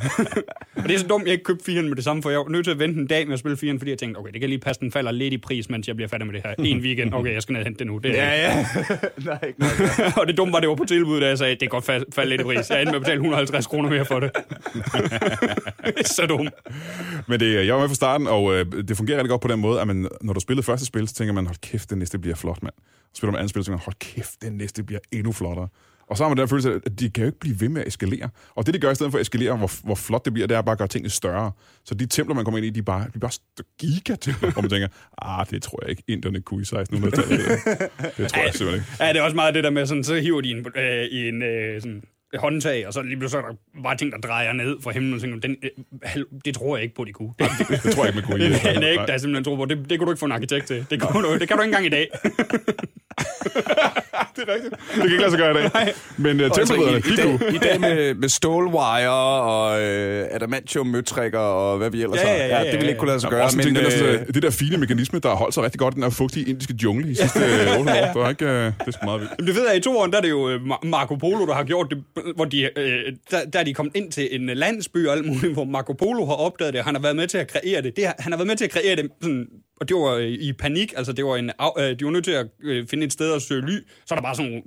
S3: og det er så dumt, jeg ikke købte firen med det samme, for jeg var nødt til at vente en dag med at spille firen, fordi jeg tænkte, okay, det kan lige passe, den falder lidt i pris, mens jeg bliver færdig med det her. En weekend, okay, jeg skal ned og hente det nu. Det er
S2: Ah. ja. [LAUGHS] Nej, ikke noget.
S3: [LAUGHS] og det dumme var, det var på tilbud, da jeg sagde, det kan godt fa- falde lidt i pris. Jeg endte med at betale 150 kroner mere for det. [LAUGHS] så dumt.
S1: Men det, øh, jeg var med fra starten, og øh, det fungerer rigtig godt på den måde, at man, når du spillede første spil, så tænker man, hold kæft, det næste bliver flot, mand. Og spiller man andet spil, så tænker man, hold kæft, det næste bliver endnu flottere. Og så har man den følelse, af, at de kan jo ikke blive ved med at eskalere. Og det, de gør i stedet for at eskalere, hvor, hvor flot det bliver, det er bare at gøre tingene større. Så de templer, man kommer ind i, de er bare, de er bare st- gigatempler, hvor man tænker, ah, det tror jeg ikke, inderne kunne i 1600-tallet. Det tror jeg simpelthen ikke.
S3: [LAUGHS] Ja, det er også meget det der med, sådan, så hiver de en, øh, i en øh, sådan, håndtag, og så lige pludselig så er der bare ting, der drejer ned fra himlen, og tænker, den, øh, hal- det tror jeg ikke på, de kunne. Det,
S1: [LAUGHS] Det tror jeg ikke, man kunne i.
S3: [LAUGHS] det, det, det er ikke, der er simpelthen tro på. Det, det kunne du ikke få en arkitekt til. Det, kunne du, det kan du ikke engang i dag.
S1: det er rigtigt. Det kan ikke lade sig gøre i dag. Men uh, tempelridderne,
S2: Altså, i, i,
S1: de kunne.
S2: dag, I dag med, med stålwire og øh, adamantium møtrikker og hvad vi ellers
S3: Ja,
S2: har.
S3: ja, ja, ja,
S2: det ville
S3: ja.
S2: ikke kunne lade sig
S1: Gøre,
S2: gøre.
S1: også men, ting, den der,
S2: øh,
S1: sådan, øh, det der fine mekanisme, der har holdt sig rigtig godt i den her fugtige indiske jungle i sidste øh, 8 år. Det, var ikke, øh, [LAUGHS] det er sgu meget vildt.
S3: Jamen, det ved jeg, i to år, der er det jo øh, Mar- Marco Polo, der har gjort det, hvor de, øh, der, der er de kommet ind til en øh, landsby og alt muligt, hvor Marco Polo har opdaget det, og han har været med til at kreere det. det har, han har været med til at kreere det, sådan, og det var øh, i panik, altså det var en, af- øh, de var nødt til at øh, finde et sted at søge ly, så er der bare sådan nogle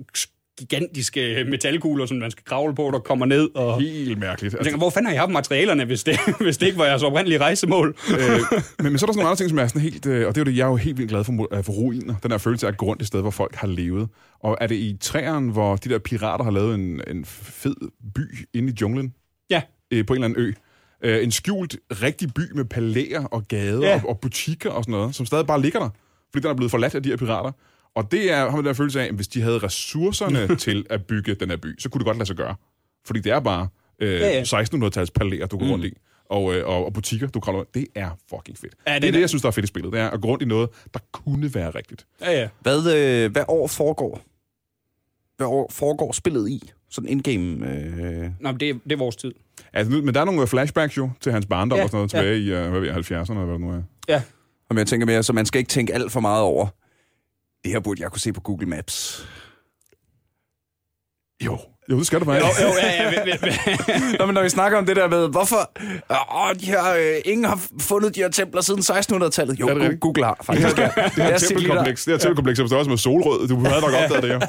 S3: gigantiske øh, metalkugler, som man skal kravle på, der kommer ned, og...
S1: Helt mærkeligt.
S3: Jeg
S1: Altså,
S3: tænker, hvor fanden har I haft materialerne, hvis det, [LAUGHS] hvis det ikke var jeres oprindelige rejsemål?
S1: øh, men, men så er der sådan nogle andre ting, som er sådan helt... Øh, og det er jo det, jeg er jo helt vildt glad for, mo- øh, for ruiner. Den her følelse af at gå rundt et sted, hvor folk har levet. Og er det i træerne, hvor de der pirater har lavet en, en fed by inde i junglen?
S3: Ja,
S1: øh, på en eller anden ø. Øh, en skjult rigtig by med palæer og gader
S3: Ja.
S1: ja. og, og butikker og sådan noget, som stadig bare ligger der, fordi den er blevet forladt af de her pirater. Og det er, har man den her følelse af, at hvis de havde
S3: [LAUGHS]
S1: ressourcerne til at bygge den her by, så kunne det godt lade sig gøre. Fordi det er bare øh,
S3: Ja, ja.
S1: 1600-tals palæer, du går rundt i. Og, øh, og, og butikker, du kravler rundt. Det er fucking fedt.
S3: Ja,
S1: Ja, det,
S3: det
S1: det
S3: er-
S1: er det, jeg synes, der er fedt i spillet. Det er at gå rundt i noget, der kunne være rigtigt.
S3: ja, ja.
S2: Hvad, øh, hvad år foregår hvad foregår spillet i? Sådan in-game... Øh...
S3: Nå, men det, er- det er vores tid.
S1: Altså, nu- men der er nogle øh, flashbacks jo til hans barndom
S3: Ja,
S1: ja, og sådan noget tilbage
S3: ja.
S1: i øh, hvad ved jeg, 70'erne eller hvad det nu er.
S3: Ja.
S2: Om jeg tænker mere, så man skal ikke tænke alt for meget over. Det her burde jeg kunne se på Google Maps.
S1: Jo. Jo, det skal du bare.
S3: Jo, jo, ja, ja, ja, ja.
S2: [LAUGHS] Nå, men når vi snakker om det der med, hvorfor øh, de her, øh, ingen har fundet de her templer siden 1600-tallet. Jo,
S1: Er det
S2: Gu-
S1: rigtigt?
S2: Google har faktisk. Det, det,
S1: Det her tempelkompleks, det her tempelkompleks er på størrelse med solrød. Du havde nok opdaget det, jo.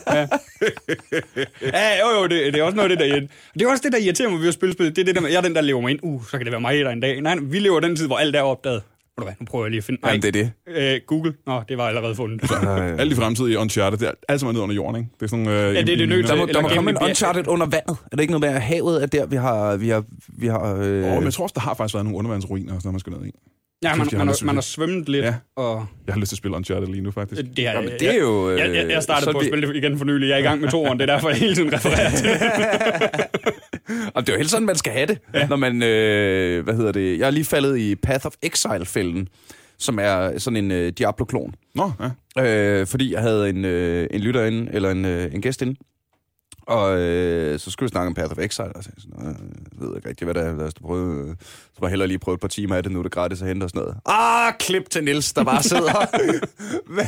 S3: Ja, jo, jo, det, det er også noget af det, der irriterer. Det er også det, der irriterer mig ved at spille spil. Det er det der med, jeg er den, der lever mig ind. Uh, så kan det være mig, der en dag. Nej, nej, vi lever den tid, hvor alt er opdaget. Ved du hvad, nu prøver jeg lige at finde... Nej,
S2: Jamen, det er det.
S3: Øh, Google. Nå, det var allerede fundet.
S2: Øh,
S1: Alle de fremtidige Uncharted, det er alt sammen nede under jorden, ikke? Det er sådan... Øh, ja,
S3: det er det nødt
S2: der
S3: til.
S2: må, der
S3: Eller
S2: må komme en
S3: gennem-
S2: Uncharted under vandet. Er det ikke noget med, at havet er der, vi har... Vi har, vi har øh...
S1: Åh, men jeg tror også, der har faktisk været nogle undervandsruiner og sådan noget, man skal ned i.
S3: Ja, man,
S1: Kæft, jeg
S3: man,
S1: har
S3: har,
S1: lyst til
S3: man
S1: det.
S3: har svømmet lidt,
S1: Ja.
S3: og
S1: Jeg har lyst til at spille Uncharted lige nu, faktisk.
S3: det, her,
S2: Jamen, det er jo...
S3: Jeg, jeg, jeg startede
S2: så
S3: på at
S2: vi-
S3: spille det igen for nylig. Jeg er i gang med toeren, det er derfor, jeg hele tiden refererer til. det.
S2: Og det er jo helt sådan, man skal have det, ja. når man, øh, hvad hedder det, jeg er lige faldet i Path of Exile-fælden, som er sådan en øh, Diablo-klon.
S1: Nå, ja.
S2: Øh, fordi jeg havde en, øh, en lytter inde, eller en, øh, en gæst inde, og øh, så skulle vi snakke om Path of Exile, og så sagde jeg sådan, "Nå, jeg ved ikke rigtig, hvad det er, lad os da prøve, øh, så må jeg hellere lige prøve et par timer af det, nu er det gratis at hente og sådan noget. Ah, klip til Nils der bare [LAUGHS] sidder, Hvad?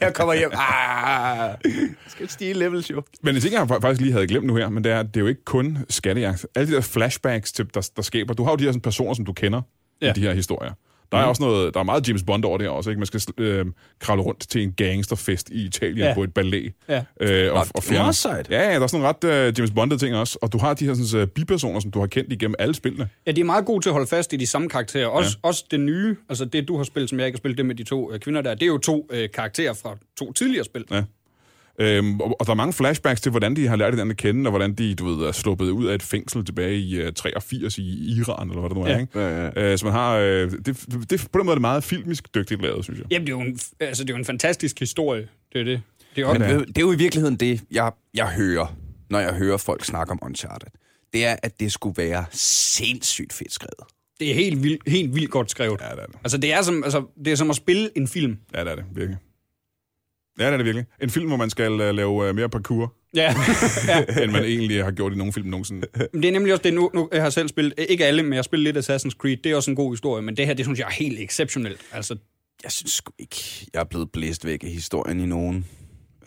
S2: jeg kommer hjem, ah, skal stige levels jo.
S1: Men en ting, jeg fa- faktisk lige havde glemt nu her, men det er, at det er jo ikke kun skattejagt. Alle de der flashbacks, til, der, der skaber. Du har jo de her sådan, personer, som du kender ja.
S3: Ja. Mhm.
S1: i de her historier. Der er også noget, der er meget James Bond over det her også, ikke? Man skal øh, kravle rundt til en gangsterfest i Italien
S3: Ja.
S1: ja. på et ballet.
S3: Ja.
S1: Øh, og,
S2: det er meget sejt.
S1: Ja, ja, der er sådan nogle ret øh, James Bond ting også. Og du har de her sådan, øh, bipersoner, som du har kendt igennem alle spillene.
S3: [LAUGHS] Ja, de er meget gode til at holde fast i de samme karakterer. Også, ja. også det nye, altså det, du har spillet, som jeg ikke har spillet, det med de to øh, kvinder der, det er jo to øh, karakterer fra to tidligere spil.
S1: Ja. Øhm, og, og der er mange flashbacks til, hvordan de har lært hinanden at kende, og hvordan de, du ved, er sluppet ud af et fængsel tilbage i uh, 83 i Iran, eller hvad det nu er,
S3: Ja.
S1: ikke?
S2: Ja, ja.
S1: Øh, så man har... Øh, det, det, på den måde er det meget filmisk dygtigt lavet, synes jeg.
S3: Jamen, det er jo en, altså, det er jo en fantastisk historie, det er det. Det er også,
S2: Men
S1: Ja.
S2: det, det er jo i virkeligheden det, jeg, jeg hører, når jeg hører folk snakke om Uncharted. Det er, at det skulle være sindssygt fedt skrevet.
S3: Det er helt vildt, helt vildt godt skrevet.
S1: Ja, det er det.
S3: Altså, det er, som, altså, det er som at spille en film.
S1: Ja, det er det, virkelig. Ja, det er det virkelig. En film, hvor man skal uh, lave uh, mere parkour,
S3: Ja. [LAUGHS] ja.
S1: end [LAUGHS] man egentlig har gjort i nogen film nogensinde.
S3: Men det er nemlig også det, nu, nu jeg har selv spillet, øh, ikke alle, men jeg har spillet lidt Assassin's Creed. Det er også en god historie, men det her, det synes jeg er helt exceptionelt. Altså,
S2: Jeg synes sgu ikke, jeg er blevet blæst væk af historien i nogen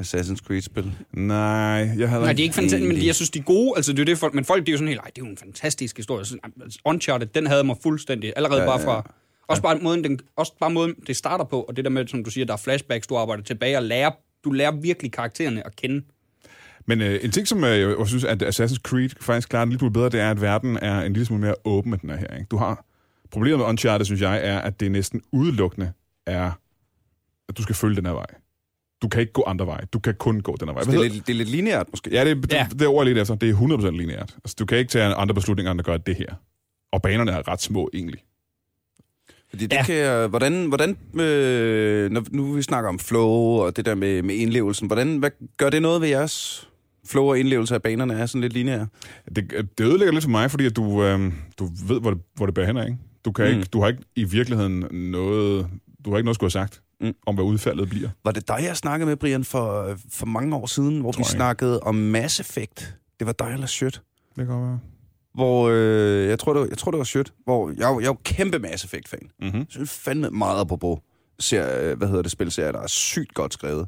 S2: Assassin's Creed-spil.
S1: Nej, jeg havde...
S3: nej, det er ikke fantastisk, men jeg synes, de er gode. Altså, det er det, folk, men folk, det er jo sådan helt, nej, det er jo en fantastisk historie. Jeg synes, altså, Uncharted, den havde mig fuldstændig, allerede ja, bare fra... Også, bare måden, den, også bare måden, det starter på, og det der med, som du siger, der er flashbacks, du arbejder tilbage og lærer, du lærer virkelig karaktererne at kende.
S1: Men øh, en ting, som øh, jeg synes, at Assassin's Creed faktisk klarer en lille smule bedre, det er, at verden er en lille smule mere åben, end den er her. Ikke? Du har... Problemet med Uncharted, synes jeg, er, at det næsten udelukkende er, at du skal følge den her vej. Du kan ikke gå andre veje. Du kan kun gå den her vej.
S2: Så det, er lidt, det er lidt lineært måske.
S1: Ja, det, det,
S3: Ja.
S1: ja. det ord lidt efter. Det er 100% lineært. Altså, du kan ikke tage andre beslutninger, end at gøre det her. Og banerne er ret små, egentlig.
S2: Fordi det
S3: Ja.
S2: ja. kan jeg, hvordan, hvordan øh, når nu vi snakker om flow og det der med, med indlevelsen, hvordan, hvad, gør det noget ved jeres flow og indlevelse af banerne er sådan lidt lineære?
S1: Det, det ødelægger lidt for mig, fordi at du, øh, du ved, hvor det, hvor det bærer hen, ad, ikke? Du, kan
S2: Mm.
S1: mm. ikke? du har ikke i virkeligheden noget... Du har ikke noget at skulle have sagt
S2: Mm.
S1: mm. om, hvad udfaldet bliver.
S2: Var det dig, jeg snakkede med, Brian, for, øh, for mange år siden, hvor
S1: Tror
S2: vi
S1: jeg ikke.
S2: snakkede om Mass Effect? Det var dig eller Shirt?
S1: Det kan godt være.
S2: hvor øh, jeg, tror, det var, jeg tror, det var Shirt, hvor jeg, er jo- jeg er jo kæmpe Mass Effect-fan.
S1: Mm-hmm.
S2: Jeg synes fandme meget apropos ser, øh, hvad hedder det, spilserier, der er sygt godt skrevet.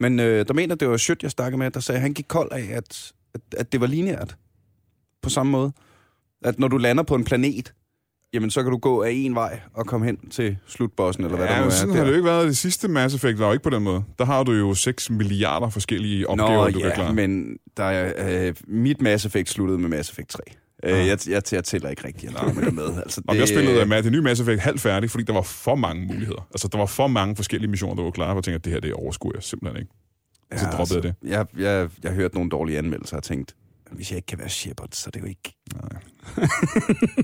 S2: Men øh, der mener, det var Shirt, jeg snakkede med, der sagde, at han gik kold af, at, at, at det var lineært. På samme måde. At når du lander på en planet, jamen så kan du gå af en vej og komme hen til slutbossen, eller hvad
S1: Ja,
S2: der nu
S1: men
S2: er.
S1: sådan
S2: der.
S1: har det jo ikke været. Det sidste Mass Effect var jo ikke på den måde. Der har du jo 6 milliarder forskellige opgaver,
S2: Nå,
S1: du
S2: ja,
S1: kan klare.
S2: men der er, øh, mit Mass Effect sluttede med Mass Effect 3. Øh,
S1: Ah.
S2: jeg, jeg, jeg tæller ikke rigtigt, jeg med det med. Altså,
S1: Om jeg spillede med det nye Mass Effect halvt færdig, fordi der var for mange muligheder. Altså, der var for mange forskellige missioner, der var klare, og jeg tænkte, at det her, det overskuer jeg simpelthen ikke.
S2: øh,
S1: Så droppede jeg det.
S2: Jeg, jeg, jeg hørte nogle dårlige anmeldelser og tænkte, hvis jeg ikke kan være Shepard, så er det jo ikke...
S1: Nej.
S2: [LAUGHS]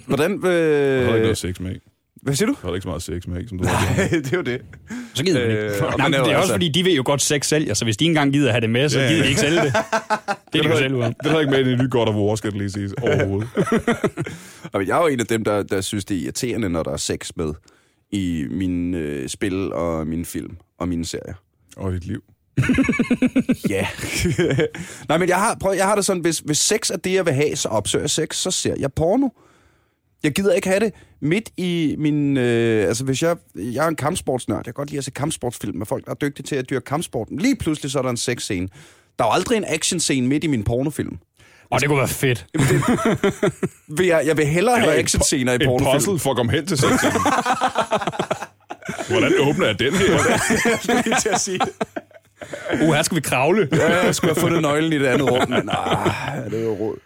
S2: Hvordan... Øh,
S1: Jeg havde ikke noget sex med en.
S2: hvad siger du?
S1: Jeg havde ikke så meget sex med en, som du
S2: [LAUGHS]
S1: havde.
S2: Nej, det er jo det.
S3: Så gider
S2: Øh,
S3: øh, [LAUGHS] man ikke.
S2: og
S3: Nå,
S2: man
S3: men
S2: er jo
S3: det er også
S2: altså-
S3: fordi, de ved jo godt, sex sælger, så hvis de ikke engang gider have det med, så
S1: Ja, ja.
S3: gider de ikke sælge
S2: [LAUGHS]
S3: det. Det er de jo selv ud af.
S1: Det havde ikke med i det nye God of War, skal det lige sige
S2: [LAUGHS]
S1: overhovedet.
S2: Og jeg er jo en af dem, der, der synes, det er irriterende, når der er sex med i mine øh, spil og mine film og mine serier.
S1: Og dit liv.
S2: Ja. [LAUGHS] Nej, men jeg har, prøv, jeg har det sådan, hvis, hvis sex er det, jeg vil have, så opsøger jeg sex, så ser jeg porno. Jeg gider ikke have det midt i min... Øh, altså, hvis jeg, jeg er en kampsportsnørd, jeg kan godt lide at se kampsportsfilm med folk, der er dygtige til at dyrke kampsporten. Lige pludselig så er der en sexscene. Der er jo aldrig en actionscene midt i min pornofilm.
S3: Og det kunne være fedt.
S2: Vil jeg, jeg vil hellere have actionscener i
S1: Et
S2: pornofilm.
S1: puzzle for at komme hen
S2: [LAUGHS]
S1: til sexen. Hvordan åbner jeg den
S2: [LAUGHS]
S1: her?
S2: lige til at sige det.
S3: Uh, her skal vi kravle.
S2: Ja, jeg skulle have fundet nøglen i det andet rum, men ah, ja, det er jo råd.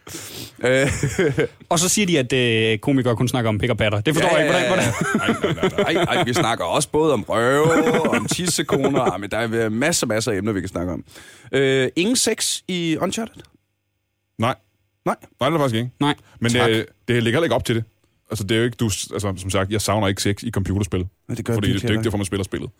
S2: Øh,
S3: Og så siger de, at øh, komikere kun snakker om pik og patter. Det
S2: Ja,
S3: forstår jeg ikke.
S2: ja,
S3: Hvordan,
S2: ja.
S1: Nej,
S3: hvordan?
S1: nej, nej, nej.
S2: Ej, ej, vi snakker også både om røve, om tissekoner, ah, men der er øh, masser, masser af emner, vi kan snakke om. Øh, ingen sex i Uncharted?
S1: Nej,
S2: Nej.
S1: nej, det er der faktisk ikke.
S3: Nej.
S1: Men øh,
S2: Tak.
S1: det, det ligger heller ikke op til det. Altså, det er jo ikke, du, altså, som sagt, jeg savner ikke sex i computerspil.
S2: Men det gør
S1: fordi
S2: de
S1: det er jo
S2: heller
S1: ikke derfor, man spiller spillet.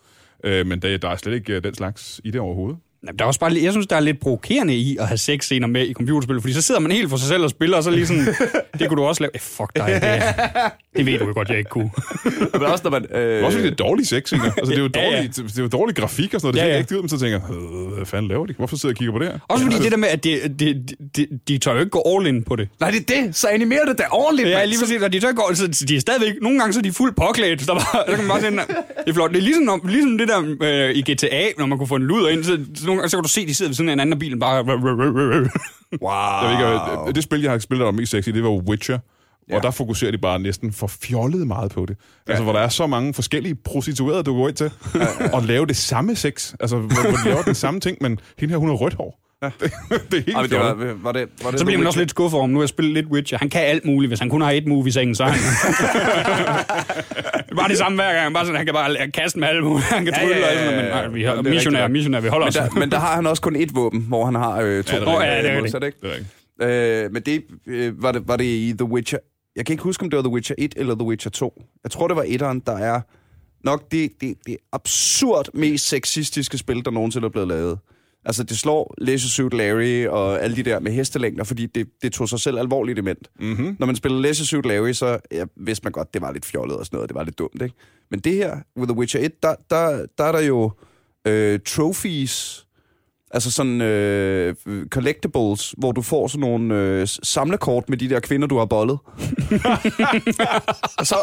S1: Øh, men der, der er slet ikke øh, den slags i det overhovedet.
S3: Jamen, Der er også bare, lidt- jeg synes, der er lidt provokerende i at have sex scener med i computerspil, fordi så sidder man helt for sig selv og spiller, og så
S2: [LAUGHS]
S3: lige sådan, det kunne du også lave. Eh, fuck dig, det, er- det ved du jo godt, jeg ikke
S2: [LAUGHS]
S3: kunne.
S2: Men også når man...
S1: Øh.
S2: Øh,
S1: Også fordi det er dårlige sex, ikke? Altså, det er jo
S3: Ja, ja.
S1: dårlig, det er jo dårlig grafik og sådan noget. Det
S3: Ja,
S1: ser
S3: ja.
S1: ikke ud, men så tænker jeg, "Øh, hvad fanden laver de? Hvorfor sidder jeg og kigger på det her?
S3: Også fordi det der med, at de, de, de, de tør jo ikke gå all in på det.
S2: Nej, det er det. Så animerer det da ordentligt,
S3: Ja,
S2: mand.
S3: lige præcis, og de tør ikke gå all in, så de er stadigvæk, nogle gange så er de fuldt påklædt, så, der bare, så kan man bare sige, "Nå, det er flot. Det er ligesom, når, ligesom det der øh, i GTA, når man kunne få en luder ind, så, så, nogle gange, så kan du se, de sidder ved siden af en anden bil, bare...
S2: Wow.
S1: Jeg ved ikke, øh, det spil, jeg har spillet, der var mest sexy, det var Witcher. Ja.
S2: Ah. Ja.
S1: Og der fokuserer de bare næsten for fjollet meget på det. Ja. Altså, hvor der er så mange forskellige prostituerede, du går ind til, ja, ja. [LAUGHS] og lave det samme sex. Altså, hvor, hvor de laver den samme ting, men hende her, hun har rødt hår. Ja. [LAUGHS] Det, det er helt
S2: Ej, men det
S1: fjollet.
S2: var, var det, var det
S3: Så bliver man også
S2: lidt...
S3: lidt skuffet over, om nu har jeg spillet lidt Witcher. Han kan alt muligt. Hvis han kun har et move i sengen, så er han... Det er bare det samme hver gang. Bare sådan, han kan bare kaste med alle mulige. Han kan
S2: Ja,
S3: trylle
S2: ja,
S3: ja,
S2: ja,
S3: ja,
S2: ja,
S3: ja,
S2: ja.
S3: ja. Men, nej, vi
S2: Det
S3: har,
S2: er rigtig
S3: missionær,
S2: nok.
S3: missionær, vi holder
S2: Men
S3: os.
S2: der, men der har han også kun ét våben, hvor han har øh, to.
S1: Ja, det er rigtigt.
S3: Åh, ja, det er
S2: modsat, ikke?
S1: Det er rigtigt.
S2: Øh, men det øh, var, det, var det i The Witcher... Jeg kan ikke huske, om det var The Witcher 1 eller The Witcher 2. Jeg tror, det var etteren, der er nok det, det, det absurd mest sexistiske spil, der nogensinde er blevet lavet. Altså, det slår Leisure Suit Larry og alle de der med hestelængder, fordi det, det tog sig selv alvorligt element.
S1: Mhm.
S2: Mm-hmm. Når man spiller Leisure Suit Larry, så ja, vidste man godt, det var lidt fjollet og sådan noget, det var lidt dumt, ikke? Men det her, with The Witcher 1, der, der, der er der jo øh, trophies, Altså sådan øh, collectibles, hvor du får sådan nogle øh, s- samlekort med de der kvinder, du har bollet. Og så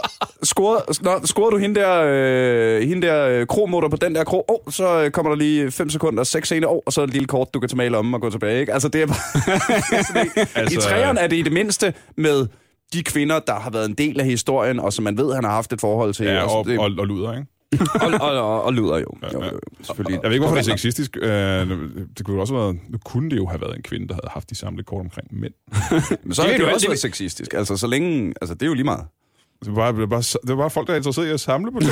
S2: scorer, når, scorer du hende der, øh, hende der øh, kromutter på den der kro, oh, så øh, kommer der lige 5 sekunder, 6 scener, oh, og så et lille kort, du kan tage med i lommen og gå tilbage. Ikke? Altså, det er bare... sådan, altså, I
S1: Altså,
S2: træerne er det i det mindste med de kvinder, der har været en del af historien, og som man ved, han har haft et forhold til.
S1: Ja, og,
S2: og, det,
S1: og, og luder, ikke?
S2: [LAUGHS] og, og, og, og lyder jo. jo,
S1: ja.
S2: jo selvfølgelig.
S1: Jeg ved ikke, hvorfor det er sexistisk. Øh, det kunne jo også have været, nu kunne det jo have været en kvinde, der havde haft de samme kort omkring mænd.
S2: Men så det er
S3: Det ved
S2: det
S3: du
S2: jo
S3: alt,
S2: også
S3: det
S2: været sexistisk. Altså, så længe... Altså, det er jo lige meget.
S1: Det var bare, det var bare, det var bare folk, der er interesseret i at samle på det.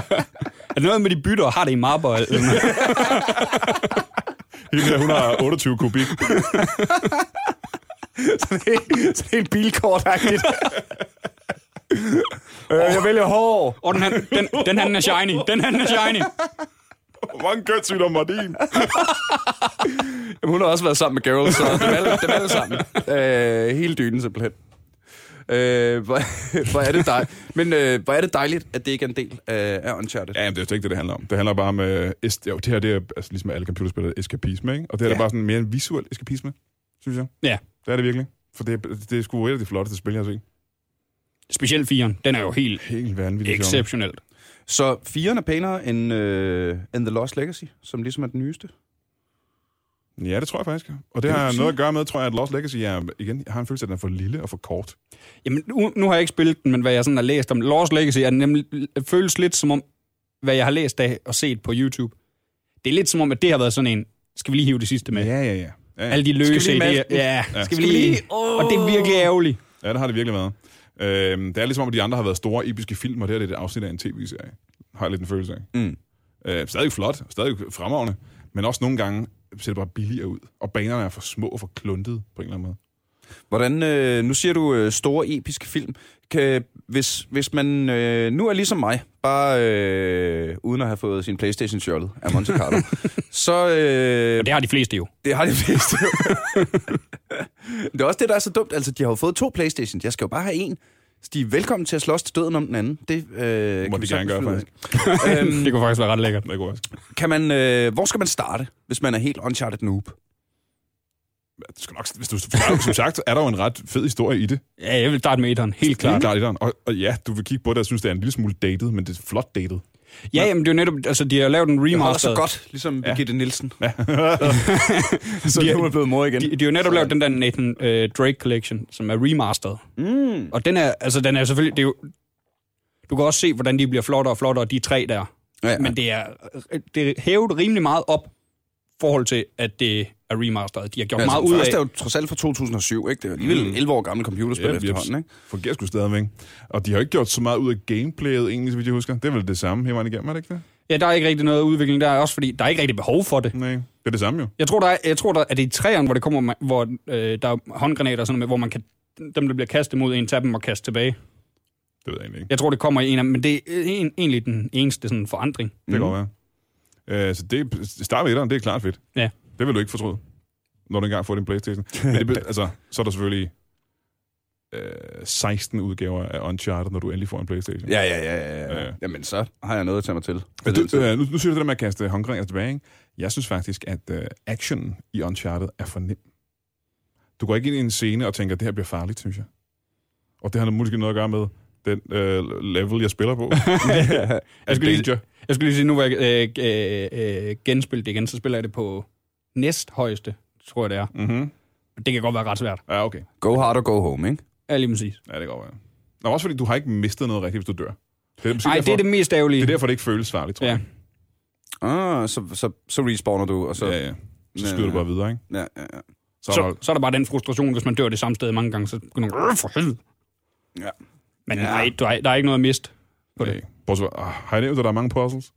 S1: [LAUGHS]
S3: Er det noget med de bytter og har det i mapper? Eller sådan noget?
S1: Hende der, hun har 28 kubik. [LAUGHS]
S2: så det er, så det er bilkortagtigt. øh, jeg vælger hår.
S3: Og den, her- den, den her, den er shiny. Den her, den er shiny.
S1: Hvor mange kønssygdomme var din?
S2: Jamen, hun har også været sammen med Geralt, så dem alle, dem alle sammen. Øh, hele dynen simpelthen. Øh, hvor, hvor, er det dej, men øh, hvor er det dejligt, at det ikke er en del øh, af, af Uncharted.
S1: Ja, jamen, det er jo slet ikke det, det handler om. Det handler bare om... Øh, est- jo, det her det er altså, ligesom alle computerspil er eskapisme, ikke? Og det her ja.
S2: Ja.
S1: er bare sådan mere en visuel eskapisme, synes jeg.
S3: Ja.
S1: Det er det virkelig. For det, er- det er sgu et af de flotteste spil, jeg har set.
S3: Specielt firen. Den er jo helt
S1: Helt vanvittigt. sjovt.
S3: exceptionelt.
S2: Så firen er pænere end, øh, end The Lost Legacy, som ligesom er den nyeste.
S1: Ja, det tror jeg faktisk. Og det
S2: kan
S1: har noget
S2: du sige.
S1: at gøre med, tror jeg, at Lost Legacy er, igen, jeg har en følelse af, at den er for lille og for kort.
S3: Jamen, nu, nu har jeg ikke spillet den, men hvad jeg sådan har læst om Lost Legacy, er nemlig føles lidt som om, hvad jeg har læst af og set på YouTube. Det er lidt som om, at det har været sådan en, skal vi lige hive det sidste med?
S1: Ja, ja, ja. Ja, ja.
S3: Alle de løse
S2: Skal vi lige
S3: idéer.
S2: masse-
S3: Ja, ja. Skal vi
S2: vi
S3: lige...
S2: lige-
S3: Og det er virkelig ærgerligt.
S1: ja det har det virkelig været. Øhm, det er ligesom om, at de andre har været store episke film, og det her det er et afsnit af en tv-serie. Har jeg lidt en følelse af.
S2: Mm.
S1: Øh, stadig flot, stadig fremragende, men også nogle gange ser det bare billigere ud. Og banerne er for små og for kluntede på en eller anden måde.
S2: Hvordan, øh, nu siger du øh, store episke film. Kan, hvis, hvis man øh, nu er ligesom mig, bare øh, uden at have fået sin Playstation stjålet af Monte [LAUGHS] Carlo, så... Øh,
S3: Og det har de fleste jo.
S2: det har de fleste. jo. det er også det, der er så dumt. Altså, de har jo fået to Playstation. Jeg skal jo bare have en. Stig, velkommen til at slås til døden om den anden. Det øh,
S1: Må
S2: kan
S1: de
S2: vi sagtens
S1: gerne gøre,
S2: finde ud af. Øhm,
S3: Det kunne faktisk være ret lækkert.
S1: Det er godt.
S2: kan man, øh, hvor skal man starte, hvis man er helt uncharted noob?
S1: Du skal nok, hvis du, som sagt, er der jo en ret fed historie i det.
S3: Ja, jeg vil starte med etteren, helt
S1: Klart.
S3: klart.
S1: Klart, etteren. og, og ja, du vil kigge på det og synes, det er en lille smule dated, men det er flot dated.
S3: Ja, jamen det er jo netop, altså de har lavet en
S2: Det holder
S3: remaster.
S2: så godt, ligesom ja. Birgitte Nielsen. Ja. [LAUGHS] så
S3: De-
S2: nu er hun blevet mor igen.
S3: De, de har jo netop lavet den der Nathan øh, Drake Collection, som er remasteret. Mm. Og den er, altså den er selvfølgelig, det er jo, du kan også se, hvordan de bliver flottere og flottere, de tre der.
S2: Ja, ja.
S3: Men det er, det er hævet rimelig meget op i forhold til, at det er remasteret. De har gjort ja, meget
S2: Altså,
S1: altså,
S2: den
S3: ud af...
S2: første er jo trods alt fra 2007, ikke? Det er jo alligevel mm. 11 år gammel computerspil
S1: Yep,
S2: yep,
S1: yep.
S2: efterhånden, ikke?
S1: Fungerer sgu stadigvæk. Og de har ikke gjort så meget ud af gameplayet, egentlig, så vidt jeg husker. Det er vel det samme hele vejen igennem, er det ikke det?
S3: Ja, der er ikke rigtig noget udvikling der, også fordi der er ikke rigtig behov for det.
S1: Nej, det er det samme jo.
S3: Jeg tror, der er, jeg tror, der er det i træerne, hvor, det kommer, hvor øh, der er håndgranater og sådan noget, med, hvor man kan, dem, der bliver kastet mod en, tage dem og kaste tilbage.
S1: Det ved jeg egentlig ikke.
S3: Jeg tror, det kommer i en af dem, men det er en, egentlig den eneste sådan, forandring.
S1: Det kan godt være. Øh, så det, start med etteren, det er klart fedt.
S3: Ja.
S1: Det vil du ikke fortryde, når du engang får din Playstation. Men det, be- altså, så er der selvfølgelig øh, 16 udgaver af Uncharted, når du endelig får en Playstation.
S2: Ja, ja, ja, ja, ja.
S1: Ja,
S2: ja.
S1: ja.
S2: Jamen, så har jeg noget at tage mig til. Altså,
S1: Men Du, øh, nu, nu synes jeg det der med at kaste håndgrænger tilbage. Ikke? Jeg synes faktisk, at øh, actionen i Uncharted er for nem. Du går ikke ind i en scene og tænker, at det her bliver farligt, synes jeg. Og det har måske noget at gøre med den øh, level, jeg spiller på. [LAUGHS]
S3: Jeg
S1: Af
S3: skulle lige-
S1: danger.
S3: Jeg skulle lige sige, nu hvor jeg øh, øh, øh, genspillet det igen, så spiller jeg det på næsthøjeste, tror jeg det er.
S1: Mm-hmm.
S3: Det kan godt være ret svært,
S1: Ja, okay.
S2: Go hard og go home, ikke?
S3: er lige præcis.
S1: Ja, det kan godt være. Nå, også fordi du har ikke mistet noget rigtigt, hvis du dør. Det er,
S3: Nej, det er det mest ærgerlige.
S1: det er derfor, det ikke føles farligt, tror
S3: Ja.
S1: jeg.
S2: Ah, så, så, så respawner du, og så... øh,
S1: Så, ja, ja. så skyder
S2: Ja,
S1: du bare videre, ikke?
S2: ja, ja, ja.
S1: Så, er
S3: Så,
S1: der-
S3: så er der bare den frustration, hvis man dør det samme sted mange gange, så begynder man, "Øh, for helvede.
S2: Ja.
S3: Men
S2: Ja.
S3: ja. nej, du er, der er ikke noget at miste. på det.
S1: Nej. Prøv at svare. Ah, Har jeg nævnt, at der er mange puzzles?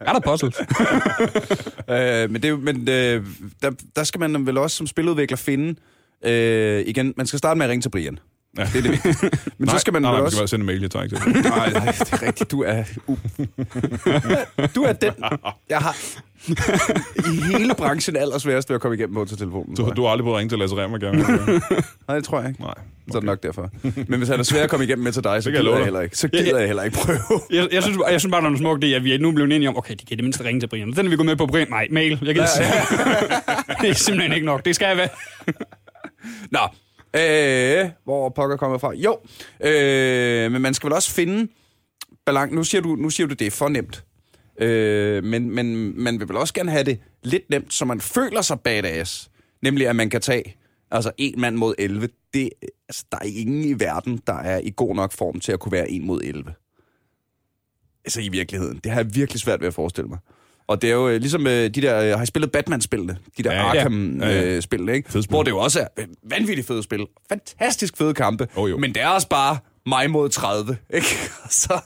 S3: Er der puzzles?
S2: Øh, men det, er jo- men øh, der, der skal man vel også som spiludvikler finde... Øh, igen, man skal starte med at ringe til Brian. Ja. Det
S1: [LAUGHS]
S2: er det vigtigste. Men så skal man
S1: nej,
S2: vel
S1: nej,
S2: også...
S1: Nej, sende en mail, jeg tager ikke til.
S2: [LAUGHS] Nej, nej, det er rigtigt. Du er...
S1: [LAUGHS]
S2: u- du er den... Jeg har i hele branchen allersværest ved at komme igennem på til telefonen.
S1: Du,
S2: tror jeg.
S1: du har aldrig prøvet at ringe til Lasse Remmer, gerne.
S2: [LAUGHS] Nej, det tror jeg ikke.
S1: Nej.
S2: Så er det nok derfor. Men hvis han er svær at komme igennem med til dig, så,
S1: kan jeg
S2: gider
S1: love
S2: jeg
S1: dig.
S2: heller ikke. Så gider jeg heller ikke prøve.
S3: [LAUGHS] jeg, jeg, synes, bare- jeg synes bare, der er noget smukt i, at vi er nu blevet enige om, okay, de kan i det mindste ringe til Brian. Den er vi gået med på, Brian. Nej, mail. Jeg kan ja, [LAUGHS] det er simpelthen ikke nok. Det skal jeg være.
S2: Nå, øh, hvor pokker kommer jeg fra? Jo, øh, men man skal vel også finde balance. Nu siger du, nu siger du det er for nemt. Øh, men, men man vil vel også gerne have det lidt nemt, så man føler sig badass. Nemlig, at man kan tage altså en mand mod 11. Det, altså, der er ingen i verden, der er i god nok form til at kunne være en mod 11. Altså i virkeligheden. Det har jeg virkelig svært ved at forestille mig. Og det er jo øh, ligesom øh, de der, øh, har I spillet Batman-spillene? De der
S1: Ja, ja.
S2: Arkham-spillene,
S1: Ja, ja.
S2: øh, spillene, ikke?
S1: Fed spil.
S2: Hvor det jo også er øh, vanvittigt fede spil. Fantastisk fede kampe.
S1: Jo, jo.
S2: Men det er også bare mig mod 30, [LAUGHS] ikke? Så,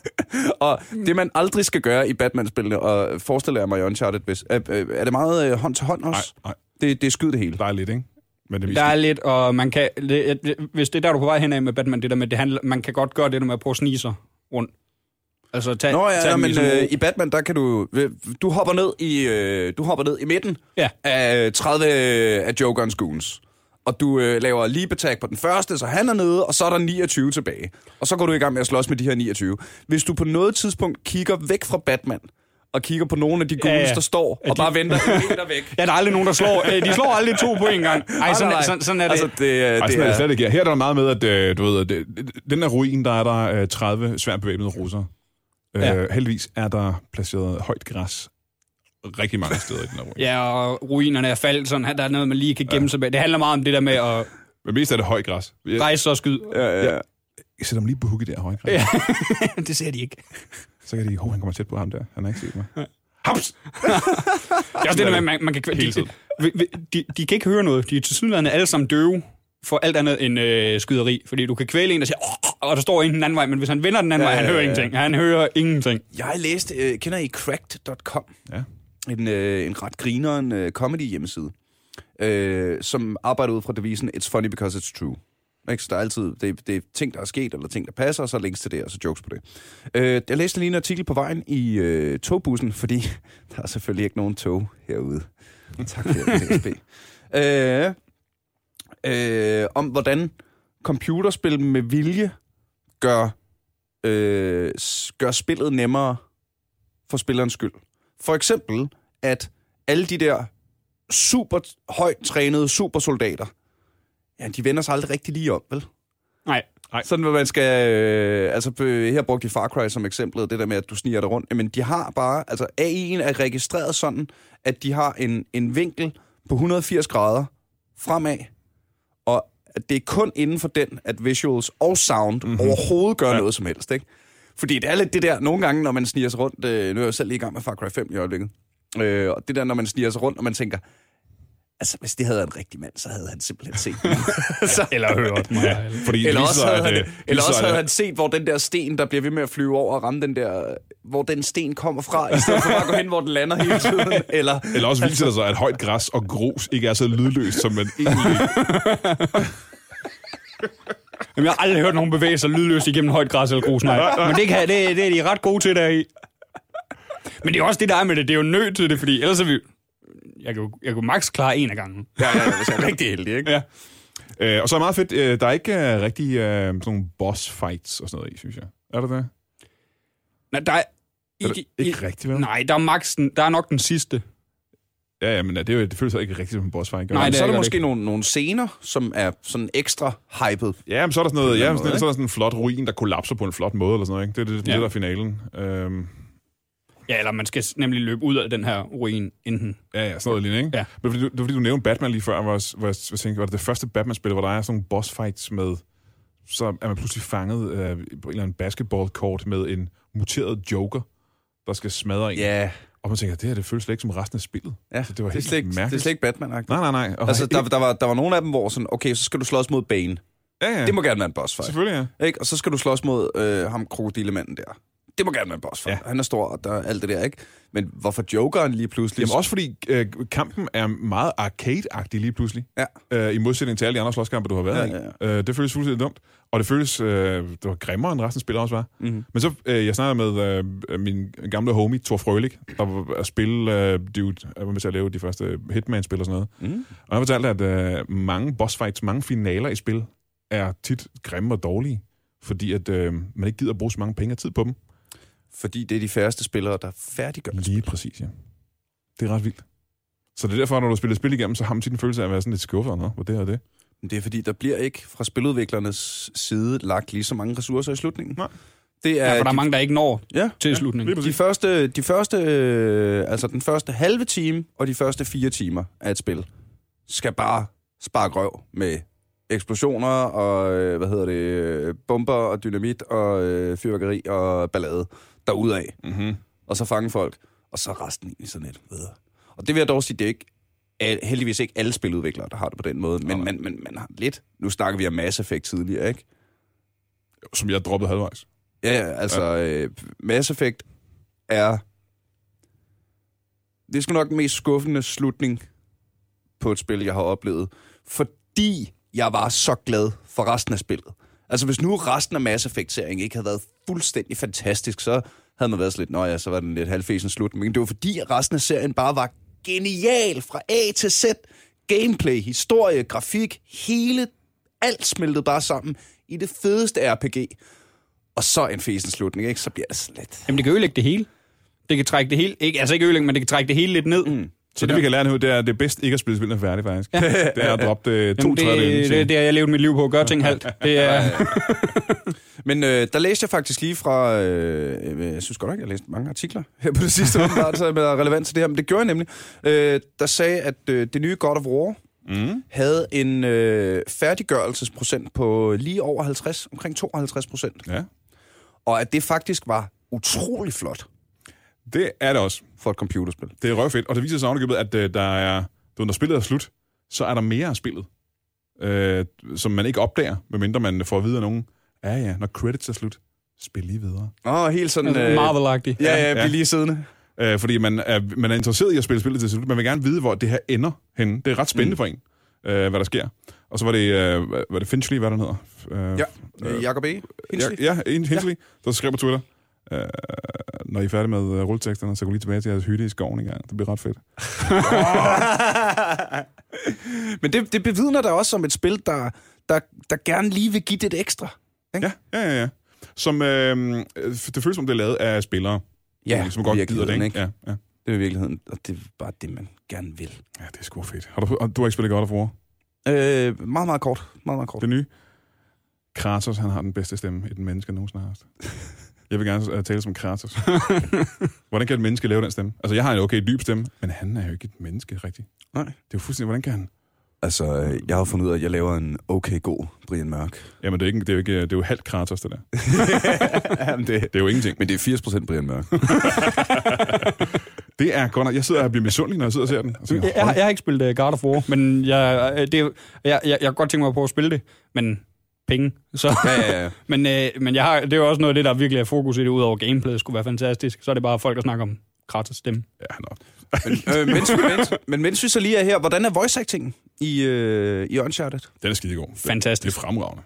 S2: og det, man aldrig skal gøre i Batman-spillene, og forestiller jeg mig i Uncharted, hvis, øh, øh, er det meget øh, hånd til hånd også?
S1: Nej, nej.
S2: Det, det er skyd det hele.
S1: Der er lidt, ikke? Men det er mest-
S3: Der er lidt, og man kan, det, det- hvis det er der, du er på vej henad med Batman, det der med, det handler, man kan godt gøre det der med at prøve at snige sig rundt. Altså, tag,
S2: Nå ja,
S3: tag
S2: ja
S3: dem
S2: men
S3: ligesom-
S2: øh, i Batman, der kan du... øh, Du hopper ned i, øh, du hopper ned i midten
S3: Ja.
S2: af 30 af Jokerens goons. Og du øh, laver lige attack på den første, så han er nede, og så er der 29 tilbage. Og så går du i gang med at slås med de her 29. Hvis du på noget tidspunkt kigger væk fra Batman, og kigger på nogle af de goons, ja,
S3: Ja,
S2: ja.
S3: ja.
S2: der står, og bare
S3: [LAUGHS]
S2: venter en meter væk.
S3: Ja, der er aldrig nogen, der slår. [LAUGHS] Øh, de slår aldrig to på en gang. Ej, sådan,
S2: nej, nej.
S3: sådan, sådan er det.
S2: Altså, det, øh,
S1: Ej,
S2: det
S1: sådan er det
S2: er,
S1: slet ikke. her. Her er der meget med, at øh, du ved, at, øh, den der ruin, der er der øh, 30 svært bevæbnede russere.
S3: Ja.
S1: Øh, heldigvis er der placeret højt græs rigtig mange steder i den her ruin.
S3: Ja, og ruinerne er faldet, sådan, der er noget, man lige kan gemme sig bag. Det handler meget om det der med at
S1: Men mest er det højt græs. Jeg,
S3: rejse sig og skyde.
S2: ja, ja.
S1: jeg sætter dem lige på hugget der højt græs.
S3: Ja. [LAUGHS] det ser de ikke.
S1: Så kan de, hov, han kommer tæt på ham der. Han har ikke set [LAUGHS] mig.
S3: Haps! det er også det der med, at man, man kan...
S1: Hele
S3: De,
S1: tiden.
S3: de, de, de kan ikke høre noget. De er til sydlandet alle sammen døve for alt andet end øh, skyderi. Fordi du kan kvæle en, der siger... "Åh", Og der står en den anden vej, men hvis han vender den anden
S2: Ja,
S3: ja, vej, han
S2: ja,
S3: hører
S2: ja.
S3: ingenting. Han hører ingenting.
S2: Jeg læste, øh, kender I cracked.com?
S1: Ja.
S2: en, øh, en ret grineren øh, comedy hjemmeside, øh, som arbejder ud fra devisen It's funny because it's true. Ikke? Så der er altid det, det er ting, der er sket, eller ting, der passer, og så er links til det, og så jokes på det. Øh, jeg læste lige en artikel på vejen i øh, togbussen, [LAUGHS] fordi der er selvfølgelig ikke nogen tog herude. Tak for det, DSB. øh, øh, om hvordan computerspil med vilje gør, øh, s- gør spillet nemmere for spillerens skyld. For eksempel, at alle de der super højt trænede supersoldater, ja, de vender sig aldrig rigtig lige om, vel?
S3: Nej.
S1: Nej.
S2: Sådan, hvor man skal... Øh, altså, øh, her brugte de Far Cry som eksemplet, det der med, at du sniger dig rundt. Jamen, de har bare... Altså, AI'en er registreret sådan, at de har en, en vinkel på 180 grader fremad, og at det er kun inden for den, at visuals og sound mm-hmm. overhovedet gør ja. noget som helst, ikke? Fordi det er lidt det der, nogle gange, når man sniger sig rundt... Øh, nu er jeg jo selv lige i gang med Far Cry 5 i øjeblikket. Øh, og det der, når man sniger sig rundt, og man tænker... Altså, hvis det havde været en rigtig mand, så havde han simpelthen set den. så,
S3: Eller hørt mig. Ja.
S1: Fordi det
S2: eller
S1: viser
S2: også
S1: sig,
S2: havde,
S1: at,
S2: han,
S1: øh, viser
S2: eller
S1: sig,
S2: også havde
S1: at-
S2: han set, hvor den der sten, der bliver ved med at flyve over og ramme den der... Hvor den sten kommer fra, i stedet for bare at gå hen, hvor den lander hele tiden. Eller,
S1: [LAUGHS] [LAUGHS] Eller også viser det sig, at højt græs og grus ikke er så lydløst, som
S2: [LAUGHS]
S1: man egentlig...
S3: Jamen, jeg har aldrig hørt nogen bevæge sig lydløst igennem højt græs eller grus, nej. Men det, kan, det, det er de ret gode til der i. Men det er også det, der er med det. Det er jo nødt til det, fordi ellers er vi... Jeg kan jo, jeg kunne max klare en af gangen.
S2: ja, ja, ja, hvis
S3: [LAUGHS]
S2: jeg er rigtig heldig, ikke?
S1: Ja. Øh, og så er det meget fedt, øh, der er ikke øh, rigtig øh, sådan nogle boss fights og sådan noget i, synes jeg. Er der det?
S3: Nej, der er...
S1: Er det ikke rigtigt, vel?
S3: Nej, der er, max, den- der er nok den sidste.
S1: Ja, ja, men øh, det, er jo, det føles ikke rigtigt som en boss fight. gør
S3: Nej,
S1: det?
S2: Men så er
S3: gør
S2: der
S3: det
S2: måske
S3: ikke.
S2: nogle, nogle scener, som er sådan ekstra hyped.
S1: Ja, men så er der sådan noget,
S2: På en
S1: ja,
S2: eller anden
S1: sådan,
S2: måde,
S1: så er der sådan en flot ruin, der kollapser på en flot måde, eller sådan noget, ikke? Det er det, det,
S3: Ja.
S1: der er finalen. Øhm,
S3: Ja, eller man skal nemlig løbe ud af den her ruin enten.
S1: ja, ja, sådan noget lignende, ikke?
S3: Ja.
S1: Men fordi du, det var fordi, du nævnte Batman lige før, hvor jeg, hvor jeg, hvor jeg tænkte, var det det første Batman-spil, hvor der er sådan nogle boss fights med, så er man pludselig fanget øh, på en eller anden basketballkort med en muteret joker, der skal smadre en.
S2: Ja,
S1: Og man tænker, det her, det føles slet ikke som resten af spillet.
S2: ja.
S1: Så det var
S2: det, er
S1: helt
S2: slet ikke, det er
S1: mærkeligt.
S2: slet ikke Batman-agtigt.
S1: Nej, nej, nej. Og
S2: Altså, der, der, var, der var nogle af dem, hvor sådan, okay, så skal du slås mod Bane.
S1: ja, ja.
S2: Det må gerne være en boss fight.
S1: Selvfølgelig, ja.
S2: Ikke? Og så skal du slås mod øh, ham krokodilemanden der. Det må gerne være en boss fight. Ja. Han er stor, og der er alt det der, ikke? Men hvorfor jokeren lige pludselig...
S1: Jamen også fordi øh, kampen er meget arcade-agtig lige pludselig.
S2: Ja.
S1: Øh, I modsætning til alle de andre slåskampe, du har været
S2: Ja, ja,
S1: i. Øh, det føles fuldstændig dumt. Og det føles, øh, det var grimmere end resten af spillet også var.
S2: Mhm.
S1: Men så, øh, jeg snakkede med øh, min gamle homie, Thor Frølich, der var at spille øh, Dude, jeg var med til at lave de første Hitman-spil og sådan noget.
S2: Mm.
S1: Og han fortalte, at øh, mange bossfights, mange finaler i spil, er tit grimme og dårlige. Fordi at øh, man ikke gider at bruge så mange penge og tid på dem.
S2: Fordi det er de færreste spillere, der færdiggør det.
S1: Lige præcis, ja. Det er ret vildt. Så det er derfor, når du spiller spil igennem, så har man tit en følelse af at være sådan lidt skuffet, når hvor det her er det.
S2: Men det er fordi, der bliver ikke fra spiludviklernes side lagt lige så mange ressourcer i slutningen.
S1: Nej.
S2: Det er,
S3: Ja, for der er mange, der ikke når
S2: Ja,
S3: til
S1: Ja, lige
S3: slutningen.
S1: præcis.
S2: de første, de første, øh, altså den første halve time og de første fire timer af et spil, skal bare sparke røv med eksplosioner og, øh, hvad hedder det, øh, bomber og dynamit og øh, fyrværkeri og ballade derudad.
S1: Mm-hmm.
S2: og så fange folk, og så resten egentlig sådan lidt videre. Og det vil jeg dog sige, det er ikke al- heldigvis ikke alle spiludviklere, der har det på den måde, men man, man, man har lidt. Nu snakker vi om Mass Effect tidligere, ikke?
S1: Som jeg droppede halvvejs.
S2: Ja, ja, altså ja. Øh, Mass Effect er... Det er sgu nok den mest skuffende slutning på et spil, jeg har oplevet. Fordi jeg var så glad for resten af spillet. Altså hvis nu resten af Mass Effect-serien ikke havde været fuldstændig fantastisk, så havde man været sådan lidt, nå ja, så var den lidt halvfesen slut. Men det var fordi, at resten af serien bare var genial fra A til Z. Gameplay, historie, grafik, hele, alt smeltede bare sammen i det fedeste RPG. Og så en fesen slutning, ikke? Så bliver det sådan lidt...
S3: Jamen, det kan ødelægge det hele. Det kan trække det hele. Ikke, altså ikke ødelægge, men det kan trække det hele lidt ned. Mm.
S1: Så det, vi kan lære nu, det er, at det er bedst ikke at spille spillene færdigt, faktisk. [LAUGHS] det er at droppe øh, to
S3: Jamen,
S1: tredjedele.
S3: det, det, det, har jeg levet mit liv på. Gør ting halvt. Det er...
S2: Men øh, der læste jeg faktisk lige fra... Øh, øh, jeg synes godt nok, jeg læste mange artikler her på det sidste, åbenbart, som er relevant til det her. Men det gjorde jeg nemlig. Øh, der sagde, at øh, det nye God of War mm. havde en øh, færdiggørelsesprocent på lige over 50, omkring 52 procent.
S1: Ja,
S2: Og at det faktisk var utrolig flot
S1: det er det også.
S2: for et computerspil.
S1: Det er røvfedt. Og det viser sig ovenikøbet, at øh, der er, du, ved, når spillet er slut, så er der mere af spillet, øh, som man ikke opdager, medmindre man får at vide af nogen. Ja, ja, når credits er slut, spil lige videre.
S2: Åh, helt sådan... Øh,
S3: Marvel-agtig.
S2: Ja, ja,
S1: Ja.
S2: bliv lige siddende.
S1: Øh, fordi man er, man er interesseret i at spille spillet til slut. Man vil gerne vide, hvor det her ender henne. Det er ret spændende mm. for en, øh, hvad der sker. Og så var det, øh, hvad- var det Finchley, hvad den hedder? Øh,
S2: Ja, øh, Jacob E. Hinsley.
S1: Ja, ja en Hinsley, ja. der skrev på Twitter. Øh, når I er færdige med øh, rulleteksterne, så gå lige tilbage til jeres hytte i skoven engang. Det bliver ret fedt.
S2: Men det, det bevidner der også om et spil, der, der, der gerne lige vil give det et ekstra.
S1: Ja, ja, ja. ja. Som, øh, det føles som, det er lavet af spillere, som godt
S2: virkelig,
S1: gider det. Ikke? Ja, ja.
S2: Det er i virkeligheden, og det er bare det, man gerne vil.
S1: ja, det er sgu fedt. Har du, og du har ikke spillet God of War?
S2: Øh, meget, meget kort. Meget, meget kort.
S1: Det nye? Kratos, han har den bedste stemme, et menneske nogensinde har haft. Jeg vil gerne øh, tale som Kratos. [LAUGHS] hvordan kan et menneske lave den stemme? Altså, jeg har en okay dyb stemme, men han er jo ikke et menneske, rigtigt.
S2: Nej.
S1: Det er jo fuldstændig, hvordan kan han?
S2: Altså, øh, jeg har fundet ud af, at jeg laver en okay god Brian Mørk.
S1: Jamen, det er, ikke, det er jo, ikke, øh, det er jo halvt Kratos, det der.
S2: [LAUGHS] Jamen, det,
S1: Det er jo ingenting.
S2: men det er 80% Brian Mørk.
S1: Det er godt nok. Jeg sidder og bliver misundelig, når jeg sidder og ser den. Og tænker,
S3: Jeg, jeg, har- jeg har ikke spillet uh, God of War, men jeg, øh, det, er- jeg, jeg, jeg kan godt tænke mig på at spille det, men penge. Så,
S2: ja, ja, ja.
S3: [LAUGHS] men øh, men jeg har, det er jo også noget af det, der virkelig er fokus i det, udover gameplayet skulle være fantastisk. Så er det bare folk, der snakker om Kratos stemme.
S1: Ja, nå.
S2: Men, øh, mens, mens, men mens vi så lige er her, hvordan er voice acting i, øh, i Uncharted?
S1: Den er skidegod. Den- Det er
S3: Fantastisk.
S1: fremragende.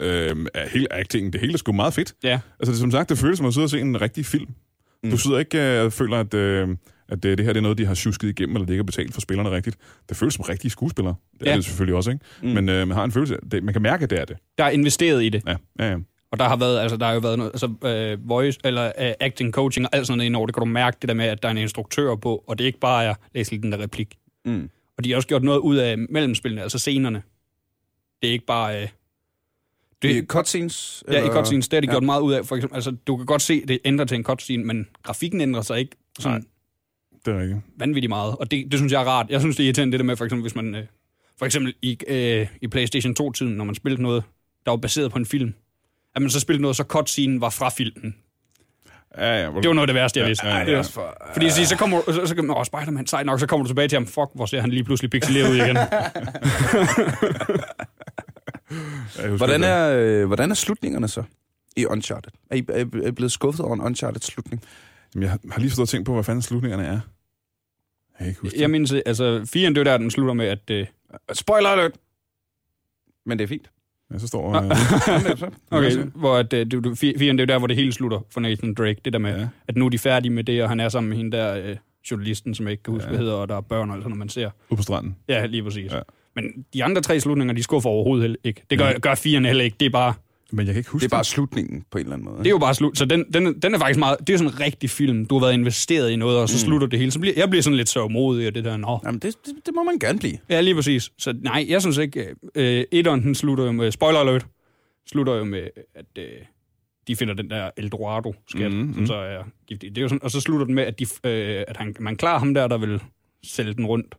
S1: Øhm, er hele actingen, det hele er sgu meget fedt.
S3: Ja.
S1: Altså, det, som sagt, det føles som at sidde og se en rigtig film. Mm. Du sidder ikke øh, og føler, at, øh, at øh, det her det er noget, de har tjusket igennem, eller det ikke er betalt for spillerne rigtigt. Det føles som rigtige skuespillere. Det er
S3: Ja.
S1: det selvfølgelig også, ikke? Mm. Men øh, man har en følelse af, det, man kan mærke, at det er det.
S3: Der er investeret i det,
S1: Ja, ja, ja.
S3: og der har været, altså, der har jo været noget, altså, øh, voice, eller øh, acting, coaching og alt sådan noget indover. Det kan du mærke, det der med, at der er en instruktør på, og det er ikke bare er, læs lige den der replik.
S2: Mm.
S3: Og de har også gjort noget ud af mellemspillene, altså scenerne. Det er ikke bare... Øh,
S2: Det, I cutscenes?
S3: Ja, i cutscenes, der er de
S2: Ja.
S3: ja. gjort meget ud af. For eksempel, altså, du kan godt se, det ændrer til en cutscene, men grafikken ændrer sig ikke sådan Nej.
S1: Det er rigtigt.
S3: vanvittigt meget. Og det, det synes jeg er rart. Jeg synes, det er irriterende det der med, for eksempel, hvis man... Øh, for eksempel i, øh, i PlayStation 2-tiden, når man spillede noget, der var baseret på en film. At man så spillede noget, så cutscenen var fra filmen.
S1: Ja, ja. Hvor,
S3: Det var noget af det værste, jeg
S1: Ja,
S3: vidste.
S1: ja, ja.
S3: Det var- Fordi så, så kommer du, så, så, kan man, åh, Spider-Man, sejt nok, så kommer du tilbage til ham, fuck, hvor ser han lige pludselig pixeleret ud [LAUGHS] igen.
S1: jeg husker
S2: Hvordan
S1: det.
S2: er, øh, hvordan er slutningerne så i Uncharted? Er I, er I- er I blevet skuffet over en Uncharted-slutning?
S1: Jamen, jeg har- har lige stået og tænkt på, hvad fanden slutningerne er. Jeg kan ikke huske
S3: jeg mindes, altså, 4'eren, det er der, den slutter med, at... Øh,
S2: Spoiler alert! Men det er fint.
S1: det. Ja, så står... Øh,
S3: [LAUGHS] Okay,
S1: Ja.
S3: hvor at, øh, du, du, fi- firen, det er jo der, hvor det hele slutter for Nathan Drake. Det der med,
S1: Ja.
S3: ja. at nu er de færdige med det, og han er sammen med hende der øh, journalisten, som jeg ikke kan huske,
S1: Ja.
S3: ja. hvad hedder, og der er børn og alt sådan noget, man ser.
S1: ude på stranden.
S3: Ja, lige præcis.
S1: Ja.
S3: Ja. Men de andre tre slutninger, de skuffer overhovedet heller ikke. Det gør,
S1: Mhm.
S3: gør firen heller ikke. Det er, bare,
S1: Men jeg kan ikke huske
S2: Det er bare slutningen på en eller anden måde.
S3: det er jo bare slut. Så den, den, den er faktisk meget... Det er jo sådan en rigtig film. Du har været investeret i noget, og så mm. slutter det hele. Så bliver, jeg bliver sådan lidt sørgmodig og det der. Nå.
S2: Jamen, det, det, det må man gerne blive.
S3: Ja, lige præcis. Så nej, jeg synes ikke... Øh, Etteren, den slutter jo med... Spoiler alert. Slutter jo med, at øh, de finder den der Eldorado-skat,
S1: Mhm,
S3: mm, som
S1: mhm.
S3: så er gift i. Det er jo sådan, og så slutter den med, at, de, øh, at han, man klarer ham der, der vil sælge den rundt.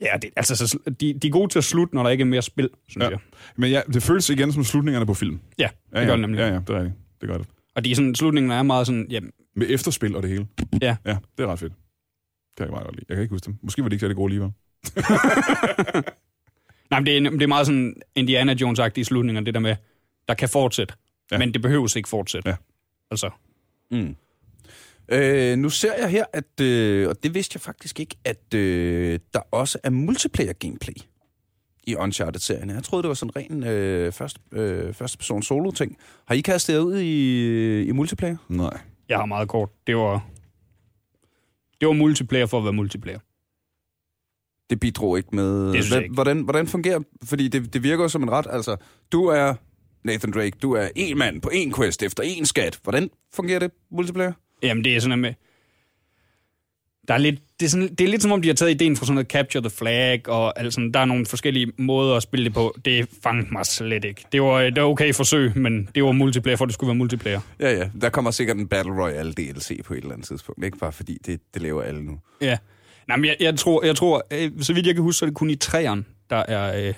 S3: Ja, det, altså, så, sl- de, de er gode til at slutte, når der ikke er mere spil, synes
S1: Ja.
S3: ja. jeg.
S1: Men ja, det føles igen som slutningerne på film.
S3: Ja,
S1: Ja,
S3: det
S1: ja.
S3: gør det nemlig.
S1: Ja, ja, det er rigtigt. Det gør det.
S3: Og de er sådan, slutningen er meget sådan, jamen,
S1: Med efterspil og det hele.
S3: Ja.
S1: Ja, det er ret fedt. Det kan jeg meget godt lide. Jeg kan ikke huske dem. Måske var de ikke særlig gode alligevel.
S3: nej, men det, er, det er meget sådan Indiana Jones-agtige slutninger, det der med, der kan fortsætte,
S1: Ja.
S3: ja. men det behøves ikke fortsætte.
S1: Ja.
S3: Altså,
S2: Mm. Øh, nu ser jeg her, at, øh, og det vidste jeg faktisk ikke, at øh, der også er multiplayer-gameplay i Uncharted-serien. Jeg troede, det var sådan en ren øh, første, øh, første person solo-ting. Har I kastet jer ud i, i multiplayer?
S1: Nej.
S3: Jeg har meget kort. Det var, det var multiplayer for at være multiplayer.
S2: Det bidrog ikke med...
S3: Det synes jeg
S2: Hva-
S3: ikke.
S2: Hvordan, hvordan fungerer... Fordi det, det virker jo som en ret... Altså, du er Nathan Drake, du er en mand på en quest efter en skat. Hvordan fungerer det multiplayer?
S3: Jamen, det er sådan noget med... Der er lidt, det, er sådan, det er lidt som om, de har taget ideen fra sådan noget Capture the Flag, og altså, der er nogle forskellige måder at spille det på. Det fangede mig slet ikke. Det var, det var okay forsøg, men det var multiplayer, for det skulle være multiplayer.
S2: Ja, ja. Der kommer sikkert en Battle Royale DLC på et eller andet tidspunkt. Ikke bare fordi, det, det laver alle nu.
S3: Ja. Nej, men jeg, jeg tror, jeg tror øh, så vidt jeg kan huske, så er det kun i træerne, der er, øh, der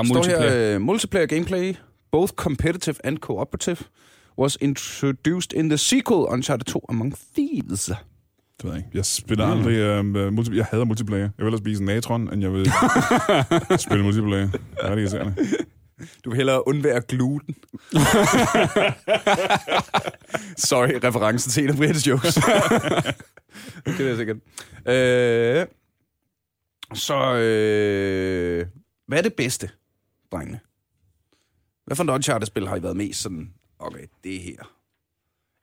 S3: er
S2: Står
S3: multiplayer.
S2: her, uh, multiplayer gameplay, both competitive and cooperative, was introduced in the sequel Uncharted 2 Among Thieves.
S1: Det ved jeg ikke. Jeg spiller mm. aldrig... Øh, multi- jeg hader multiplayer. Jeg vil hellere spise en natron, end jeg
S2: [LAUGHS]
S1: vil spille multiplayer. Det er det irriterende.
S2: Du vil hellere undvære
S1: [LAUGHS]
S2: gluten. Sorry, referencen til en af Brians [LAUGHS] jokes. det er jeg sikkert. Øh, så, øh, hvad er det bedste, drengene? Hvad for en Uncharted-spil har I været mest sådan, okay, det er her?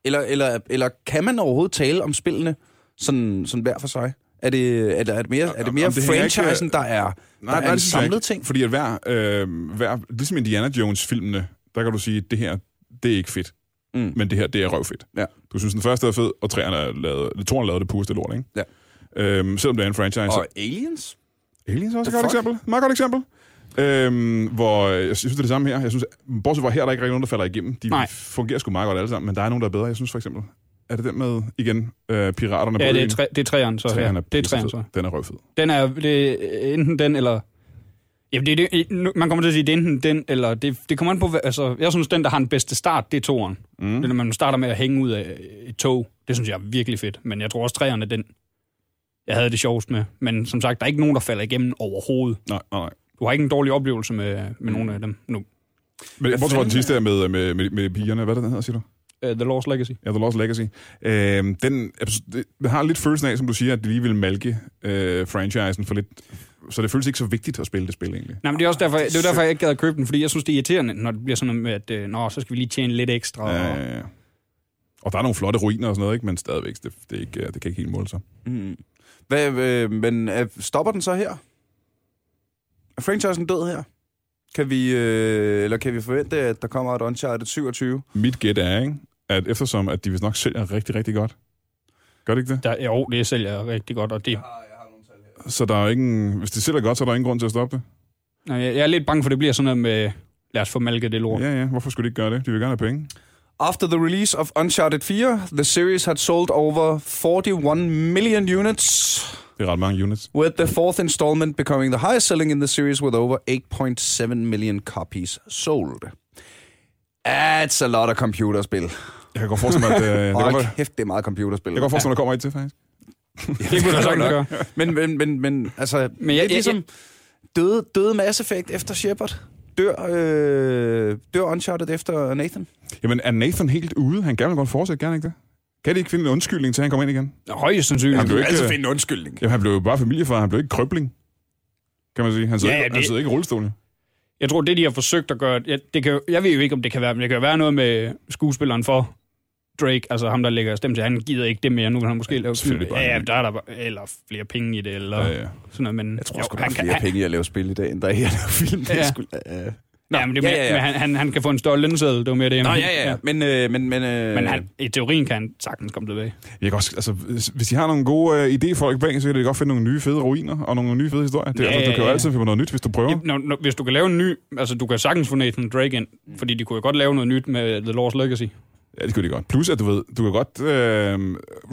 S2: Eller, eller, eller kan man overhovedet tale om spillene sådan, sådan hver for sig? Er det, er det, er det mere, er det mere
S1: Om det hænger ikke- øh,
S2: franchisen, der er, der er en
S1: det synes jeg
S2: samlet
S1: ikke.
S2: ting?
S1: Fordi at hver, øh, hver, ligesom Indiana Jones-filmene, der kan du sige, at det her, det er ikke fedt.
S2: Mm.
S1: Men det her, det er røvfedt.
S2: Ja.
S1: Du synes, den første er fed, og træerne er lavet, toren lavede det pureste lort, ikke?
S2: Ja.
S1: Øhm, selvom det er en franchise.
S2: Og Aliens?
S1: Aliens er også et
S2: The
S1: godt
S2: fuck?
S1: eksempel. Meget godt eksempel. Øhm, hvor øh, jeg synes, det er det samme her. Jeg synes, bortset fra her, er der ikke rigtig nogen, der falder igennem. De
S3: Nej.
S1: fungerer sgu meget godt alle sammen, men der er nogen, der er bedre. Jeg synes for eksempel, er det den med, igen, øh, Piraterne
S3: Ja,
S1: på
S3: det er,
S1: øen?
S3: tre, det er træerne, så.
S1: Træerne
S3: ja. Det er træerne,
S1: pissefed.
S3: så.
S1: Den er røvfed.
S3: Den er det, er enten den, eller... Jamen, det, er det, nu- man kommer til at sige, det er enten den, eller... Det, det kommer an på... hvad- Altså, jeg synes, den, der har den bedste start, det er toeren. Mm. Det, er, når man starter med at hænge ud af et tog, det synes jeg er virkelig fedt. Men jeg tror også, træerne er den, jeg havde det sjovest med. Men som sagt, der er ikke nogen, der falder igennem overhovedet.
S1: Nej, nej, nej.
S3: Du har ikke en dårlig oplevelse med, med nogen af dem nu.
S1: Men bortset fra den
S2: fanden
S1: sidste her med, med, med, med pigerne, hvad er det, den hedder, siger du?
S3: Uh, The Lost Legacy.
S1: Ja, The Lost Legacy. Øhm, den, abs- det- den har lidt følelsen af, som du siger, at de lige vil malke øh, franchisen for lidt. Så det føles ikke så vigtigt at spille det spil, egentlig.
S3: Nej, men det er også derfor, det er jo derfor, jeg ikke gad at købe den, fordi jeg synes, det er irriterende, når det bliver sådan noget med, at øh, nå, så skal vi lige tjene lidt ekstra.
S1: Ja,
S3: Og,
S1: ja, ja. Og der er nogle flotte ruiner og sådan noget, ikke? men stadigvæk, det, det, er ikke, øh, det kan ikke helt måle sig.
S2: Mm. Hvad, øh, men øh, stopper den så her? Er franchisen død her? Kan vi, øh, eller kan vi forvente, at der kommer et Uncharted 27?
S1: Mit gæt er, ikke? at eftersom at de vist nok sælger rigtig, rigtig godt, gør det ikke det?
S3: der, jo, det sælger jeg rigtig godt, og det,
S1: Så der er jo ikke en, hvis de sælger godt, så er der ingen grund til at stoppe det.
S3: nej, jeg jeg er lidt bange for, at det bliver sådan noget med, lad os få malket det lort.
S1: Ja, ja, hvorfor skulle de ikke gøre det? De vil gerne have penge.
S2: After the release of Uncharted 4, the series had sold over 41 million units,
S1: Det er ret mange
S3: [LAUGHS]
S1: units.
S2: with the fourth installment becoming the highest selling in the series with over 8.7 million copies sold. That's a lot of computerspil.
S1: Jeg kan godt forestille mig, at øh, jeg kan godt-
S2: Hold kæft, det er meget computerspil.
S1: jeg kan godt forestille mig, at der kommer et til, faktisk.
S3: [LAUGHS]
S2: [LAUGHS]
S3: Det kunne jeg sagtens gøre.
S2: Men, men, men, men altså, men jeg,
S3: jeg-
S2: det er ligesom jeg, døde, døde Mass Effect efter Shepard. Dør, øh, dør Uncharted efter Nathan.
S1: Jamen, er Nathan helt ude? Han gerne vil godt fortsætte, gerne ikke det? Kan de ikke finde en undskyldning til, at han kommer ind igen?
S3: Højst sandsynligt.
S1: Han blev ikke,
S2: en undskyldning.
S1: jamen, han blev jo bare familiefar, han blev ikke krøbling, kan man sige. Han sidder,
S3: Ja,
S1: ja,
S3: ja,
S1: ikke,
S3: det-
S1: han sidder ikke i rullestolen.
S3: Jeg tror, det de har forsøgt at gøre, jeg, det kan, jo- jeg ved jo ikke, om det kan være, men det kan jo være noget med skuespilleren for Drake, altså ham, der lægger stemme til, han gider ikke det mere, nu kan han måske lave
S1: selvfølgelig bare
S3: Ja, ja,
S1: en-
S3: der er der bare, eller flere penge i det, eller
S1: Ja,
S3: ja, ja.
S1: ja.
S3: sådan noget, men...
S2: Jeg tror
S3: jo,
S2: sgu, der er
S3: han kan-
S2: flere
S3: han-
S2: penge i at lave spil i dag, end der er i at lave film.
S3: Ja.
S2: Ja. Skulle, øh.
S3: Nå, ja, men det er
S2: ja,
S3: mere,
S2: ja, ja.
S3: Men han, han, han kan få en større lønseddel, det var mere det. jeg
S2: Nå,
S3: mente.
S2: ja, ja, ja. Men, øh, men, men, øh,
S3: Men han, i teorien kan han sagtens komme tilbage.
S1: Jeg kan også, altså, hvis- hvis de har nogle gode øh, idéfolk bag, så kan de godt finde nogle nye fede ruiner og nogle nye fede historier. Det, er,
S3: Ja,
S1: altså, du kan jo
S3: ja.
S1: altid finde på noget nyt, hvis du prøver.
S3: Når, når, hvis du kan lave en ny... Altså, du kan sagtens få Nathan Drake ind, fordi de kunne jo godt lave noget nyt med The Lost Legacy.
S1: Ja, det kan de godt. Plus, at du ved, du kan godt øh,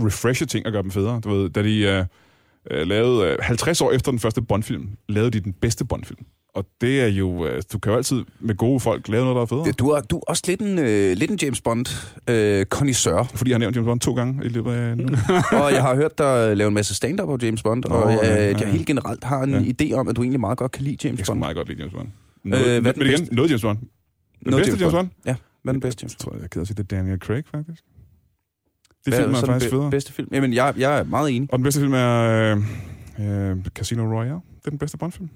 S1: refreshe ting og gøre dem federe. Du ved, da de øh, øh, lavede øh, 50 år efter den første Bond-film, lavede de den bedste Bond-film. Og det er jo, øh, du kan jo altid med gode folk lave noget, der er federe.
S2: du, er, du er også lidt en, øh, lidt en James Bond
S1: [LAUGHS]
S2: øh, connoisseur.
S1: Fordi jeg har nævnt James Bond to gange i løbet af nu.
S2: og jeg har hørt dig lave en masse stand-up på James Bond, og
S1: Nå,
S2: øh,
S1: ja, ja,
S2: jeg
S1: ja.
S2: helt generelt har en
S1: Ja.
S2: idé om, at du egentlig meget godt kan lide James
S1: Jeg kan
S2: Bond.
S1: meget godt lide James Bond.
S2: Øh,
S1: Noget,
S2: hvad er
S1: øh,
S2: den
S1: men igen,
S2: bedste?
S1: noget James Bond. Den
S2: Noget
S1: bedste James,
S2: James
S1: James Bond?
S2: Ja, hvad er den bedste James
S1: Jeg tror, jeg er ked af at sige, det er Daniel Craig, faktisk. Det
S2: Hvad
S1: film er
S2: så den
S1: faktisk
S2: be-
S1: federe.
S2: bedste film? Jamen, jeg, jeg er meget enig.
S1: Og den bedste film er øh, øh, Casino Royale. Det er den bedste Bond-film.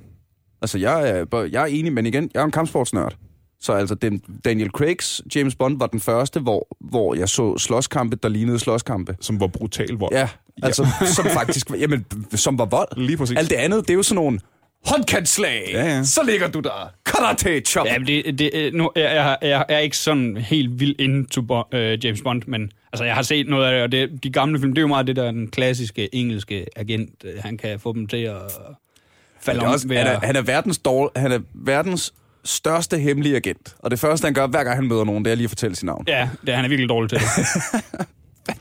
S2: Altså, jeg er, bo- jeg er enig, men igen, jeg er en kampsportsnørd. Så altså, den, Daniel Craigs James Bond var den første, hvor, hvor jeg så slåskampe, der lignede slåskampe.
S1: Som var brutal vold.
S2: Ja, altså, som faktisk, var- jamen, som var vold.
S1: Lige præcis.
S2: Alt det andet, det er jo sådan nogle håndkantslag.
S1: Ja, ja.
S2: Så ligger du der. Karate chop.
S3: Ja, men det, det, øh, nu, jeg, jeg, jeg er ikke sådan helt vild into bo, øh, James Bond, men altså, jeg har set noget af det, og det, de gamle film, det er jo meget det der den klassiske engelske agent, øh, han kan få dem til at falde
S2: Han er,
S3: om
S2: også,
S3: ved
S2: han, er,
S3: at-
S2: han, er verdens dårl, han er verdens største hemmelige agent. Og det første, han gør, hver gang han møder nogen, det er lige at fortælle sit navn.
S3: Ja, det, han er virkelig dårlig til.
S2: [LAUGHS]
S3: det.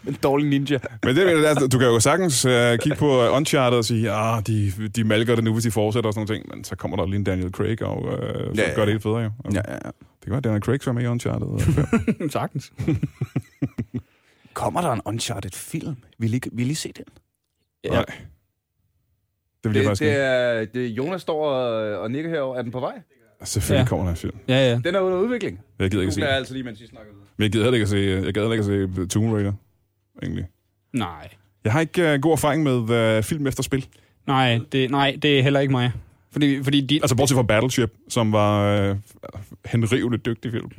S2: En dårlig ninja.
S1: Men det, er- altså, du kan jo sagtens øh, kigge på øh, Uncharted og sige, ah, de, de malker det nu, hvis de fortsætter og sådan nogle ting. Men så kommer der lige en Daniel Craig, og øh, så
S2: Ja, ja.
S1: gør det helt federe jo. Og
S2: Ja, ja, ja.
S1: Det kan være, at Daniel Craig så er med i Uncharted. øh,
S2: [LAUGHS] Mm,
S3: Sagtens.
S2: Kommer der en Uncharted-film? Vil I, vil I se den?
S1: Nej. Det vil jeg faktisk ikke.
S2: er, det Jonas står og, og nikker herover. Er den på vej?
S1: Selvfølgelig
S3: Ja.
S1: kommer der en film.
S3: Ja, ja.
S2: Den er under udvikling.
S1: Jeg gider ikke at se den.
S2: altså lige, mens I snakker videre.
S1: Men jeg gider heller ikke at se, jeg gider heller ikke at se Tomb Raider, egentlig.
S3: Nej.
S1: øh, Jeg har ikke uh, god erfaring med uh, film efter spil.
S3: Nej det, nej, det er heller ikke mig. Fordi, fordi de,
S1: Altså bortset fra Battleship, som var øh, henrivende dygtig film.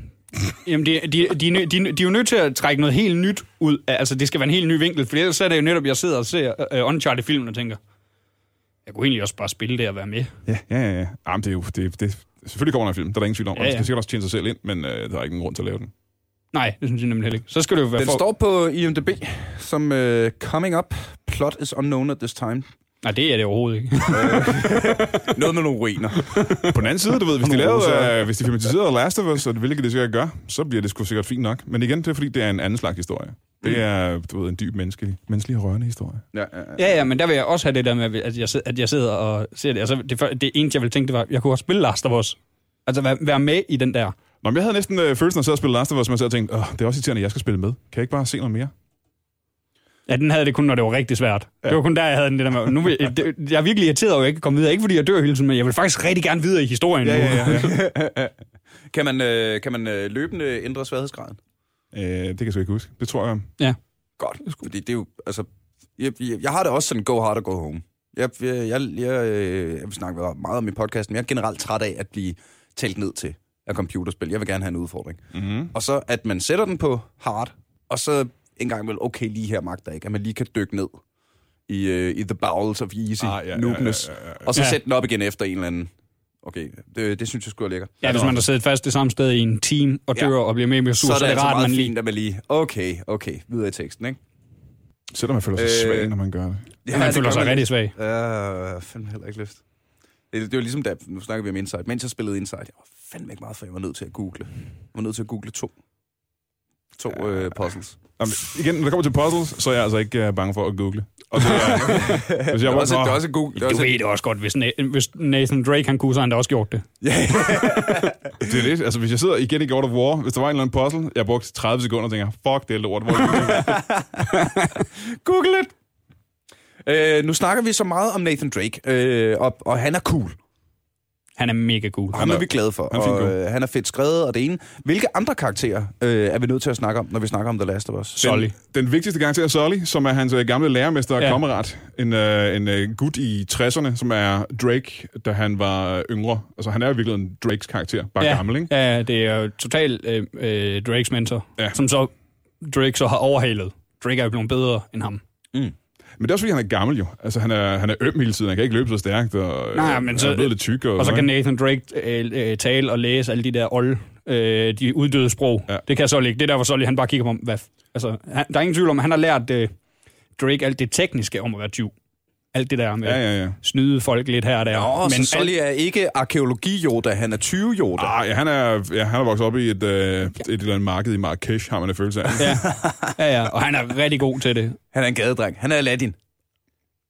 S3: Jamen, de, de, de, er nø- de, er nø- de er jo nødt til at trække noget helt nyt ud. af- Altså, det skal være en helt ny vinkel, for ellers er det jo netop, jeg sidder og ser uh, Uncharted-filmen og tænker, jeg kunne egentlig også bare spille det og være med.
S1: Ja, ja, ja, ja. Jamen, det er jo... Det, det, selvfølgelig kommer der en film, der er der ingen tvivl om. Ja,
S3: Ja,
S1: ja. Den
S3: ja.
S1: skal sikkert også tjene sig selv ind, men øh, der er ikke nogen grund til at lave den.
S3: Nej, det synes jeg nemlig heller ikke. Så skal det jo være
S2: Den
S3: for...
S2: står på IMDb som øh, coming up. Plot is unknown at this time.
S3: Nej, det er det overhovedet ikke.
S2: Noget med nogle ruiner.
S1: På den anden side, du ved, hvis de,
S2: Nogle
S1: lavede,
S2: roser.
S1: øh, hvis de filmatiserede Last of Us, og det, hvilket det sikkert gør, så bliver det sgu sikkert fint nok. Men igen, det er fordi, det er en anden slags historie. Det
S2: Mm.
S1: er, du ved, en dyb menneskelig, menneskelig og rørende historie.
S2: Ja, ja, ja.
S3: [LAUGHS] ja, ja, men der vil jeg også have det der med, at jeg, sid- at jeg sidder og ser det. Altså, det, før- det eneste, jeg ville tænke, det var, jeg kunne også spille Last of Us. Altså, være, være med i den der.
S1: Nå, men jeg havde næsten øh, følelsen af at sidde og spille Last of Us, men jeg sad og tænkte, Åh, det er også irriterende, at jeg skal spille med. Kan jeg ikke bare se noget mere?
S3: Ja, den havde det kun, når det var rigtig svært. Ja. Det var kun der, jeg havde den det der med. Nu vil, det, jeg er virkelig irriteret over, at jeg ikke kom videre. Ikke fordi jeg dør hele tiden, men jeg vil faktisk rigtig gerne videre i historien nu.
S1: ja.
S2: Kan man, øh, kan man øh, løbende ændre sværhedsgraden?
S1: øh, det kan jeg sgu ikke huske. Det tror jeg.
S2: Godt, fordi det er jo, altså, jeg, jeg, jeg har det også sådan, go hard og go home. Jeg, jeg, jeg, jeg, øh, jeg vil snakke meget om i podcasten, men jeg er generelt træt af at blive talt ned til af computerspil. Jeg vil gerne have en udfordring.
S1: Mm-hmm.
S2: Og så, at man sætter den på hard, og så en gang vel, okay, lige her magter jeg ikke, at man lige kan dykke ned i, øh, i the bowels of easy ah, ja, noobness, ja, ja, ja, ja. og så
S3: Ja.
S2: sætte den op igen efter en eller anden. Okay, det, det synes jeg skulle er lækkert.
S3: [LAUGHS] Ja, hvis man har siddet fast det samme sted i en time og
S2: Ja.
S3: dør ja. og bliver mere med sur, så, så er det
S2: altså
S3: rart,
S2: meget
S3: man lige...
S2: fint, at man lige, okay, okay, videre i teksten, ikke?
S1: Selvom man føler sig
S2: Øh,
S1: øh, svag, når man gør det.
S2: Ja,
S3: Ja, man
S2: det
S3: føler
S2: gør
S3: sig
S2: man
S3: rigtig svag.
S2: Ja, jeg har fandme heller ikke lyst. Det, det var ligesom da, nu snakker vi om Insight. Mens jeg spillede Insight, jeg var fandme ikke meget for, jeg var nødt til at google. Jeg var nødt til at google to. To ja, øh, puzzles.
S1: Jamen, igen, når det kommer til puzzles, så er jeg altså ikke øh, bange for at google. Og det
S3: [LAUGHS]
S1: er, hvis
S2: Det
S1: jeg
S2: var også, det var
S1: var,
S2: også Google. Det var
S3: Du
S2: også,
S3: ved det også godt, hvis, Na- hvis Nathan Drake han kunne, så han da også gjort det.
S2: ja,
S1: det er det. Altså, hvis jeg sidder igen i God of War, hvis der var en eller anden puzzle, jeg brugte 30 sekunder og tænker, fuck, det er lort. Hvor er
S3: [LAUGHS]
S1: det?
S2: Google it! Øh, nu snakker vi så meget om Nathan Drake, øh, og, og han er cool.
S3: Han er mega cool.
S2: Ham
S1: er-
S2: er vi glade for.
S1: han er fint
S2: og,
S1: cool.
S2: øh, han er fedt skrevet, og det ene. Hvilke andre karakterer øh, er vi nødt til at snakke om, når vi snakker om The Last of Us?
S3: Sully.
S1: Den, den vigtigste karakter er Sully, som er hans øh, gamle lærermester og
S3: Ja.
S1: ja. kammerat. En, øh, en øh, gut i 60'erne, som er Drake, da han var øh, yngre. Altså, han er jo virkelig en Drakes karakter, bare
S3: ja.
S1: ja. gammel, ikke?
S3: Ja, det er jo totalt øh, øh, Drakes mentor,
S1: Ja.
S3: ja. som så Drake så har overhalet. Drake er jo blevet bedre end ham.
S1: Men det er også, fordi han er gammel jo. Altså, han er, han er øm hele tiden, han kan ikke løbe så stærkt, og øh,
S3: Nej, men
S1: han
S3: så-
S1: er blevet lidt tyk.
S3: Og så
S1: sådan,
S3: kan
S1: ikke?
S3: Nathan Drake øh, øh, tale og læse alle de der old, øh, de uddøde sprog.
S1: Ja.
S3: Ja. Det kan Sully ikke. Det er der, hvor Sully han bare kigger på, hvad, f- altså, han, der er ingen tvivl om, at han har lært øh, Drake alt det tekniske om at være tyv. Alt det der med
S1: Ja, ja, ja.
S3: snyde folk lidt her og der.
S2: Nå, men så
S3: alt-
S2: Sully er ikke arkeologi-Yoda, han er 20-Yoda.
S1: Ah, ja, han er, ja, han er vokset op i et, øh, et eller andet marked i Marrakesh, har man en følelse af.
S3: Ja. ja, ja, og han er rigtig god til det.
S2: Han er en gadedreng. Han er Aladdin.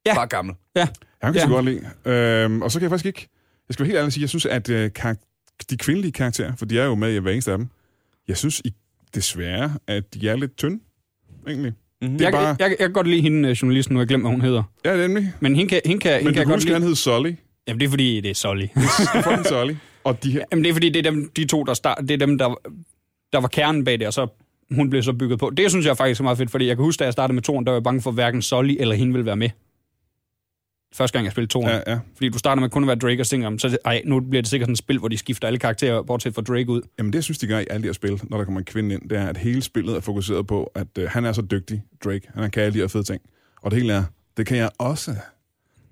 S3: Ja.
S2: Bare gammel.
S3: Ja.
S1: Han kan jeg
S3: Ja.
S1: godt lide. Øhm, og så kan jeg faktisk ikke... Jeg skal være helt ærlig og sige, jeg synes, at øh, karak- de kvindelige karakterer, for de er jo med i hver eneste af dem, jeg synes i, desværre, at de er lidt tynde, egentlig.
S2: Mm-hmm.
S1: Det er
S3: Mhm. Jeg,
S1: bare-
S3: jeg, jeg, kan godt lide hende, øh, journalisten, nu har jeg glemt, hvad hun hedder.
S1: Ja, nemlig.
S3: Men hende kan, hende kan, hende
S1: Men
S3: kan
S1: du
S3: jeg
S1: kan
S3: godt
S1: huske, at han
S3: lide.
S1: hed Sully.
S3: Jamen, det er fordi, det er Solly.
S1: Fucking
S3: [LAUGHS]
S1: Sully. Og de her...
S3: Jamen, det er fordi, det er dem, de to, der, start, det er dem, der, der var kernen bag det, og så hun blev så bygget på. Det synes jeg faktisk er meget fedt, fordi jeg kan huske, da jeg startede med toren, der var jeg bange for, at hverken Solly eller hende ville være med. Første gang, jeg spillede toren. Ja.
S1: Ja, ja.
S3: Fordi du starter med kun at være Drake og så tænker, jeg, så er det, ej, nu bliver det sikkert sådan et spil, hvor de skifter alle karakterer, bortset fra Drake ud.
S1: Jamen det, jeg synes, de gør i alle de her spil, når der kommer en kvinde ind, det er, at hele spillet er fokuseret på, at øh, han er så dygtig, Drake. Han kan alle de her fede ting. Og det hele er, det kan jeg også.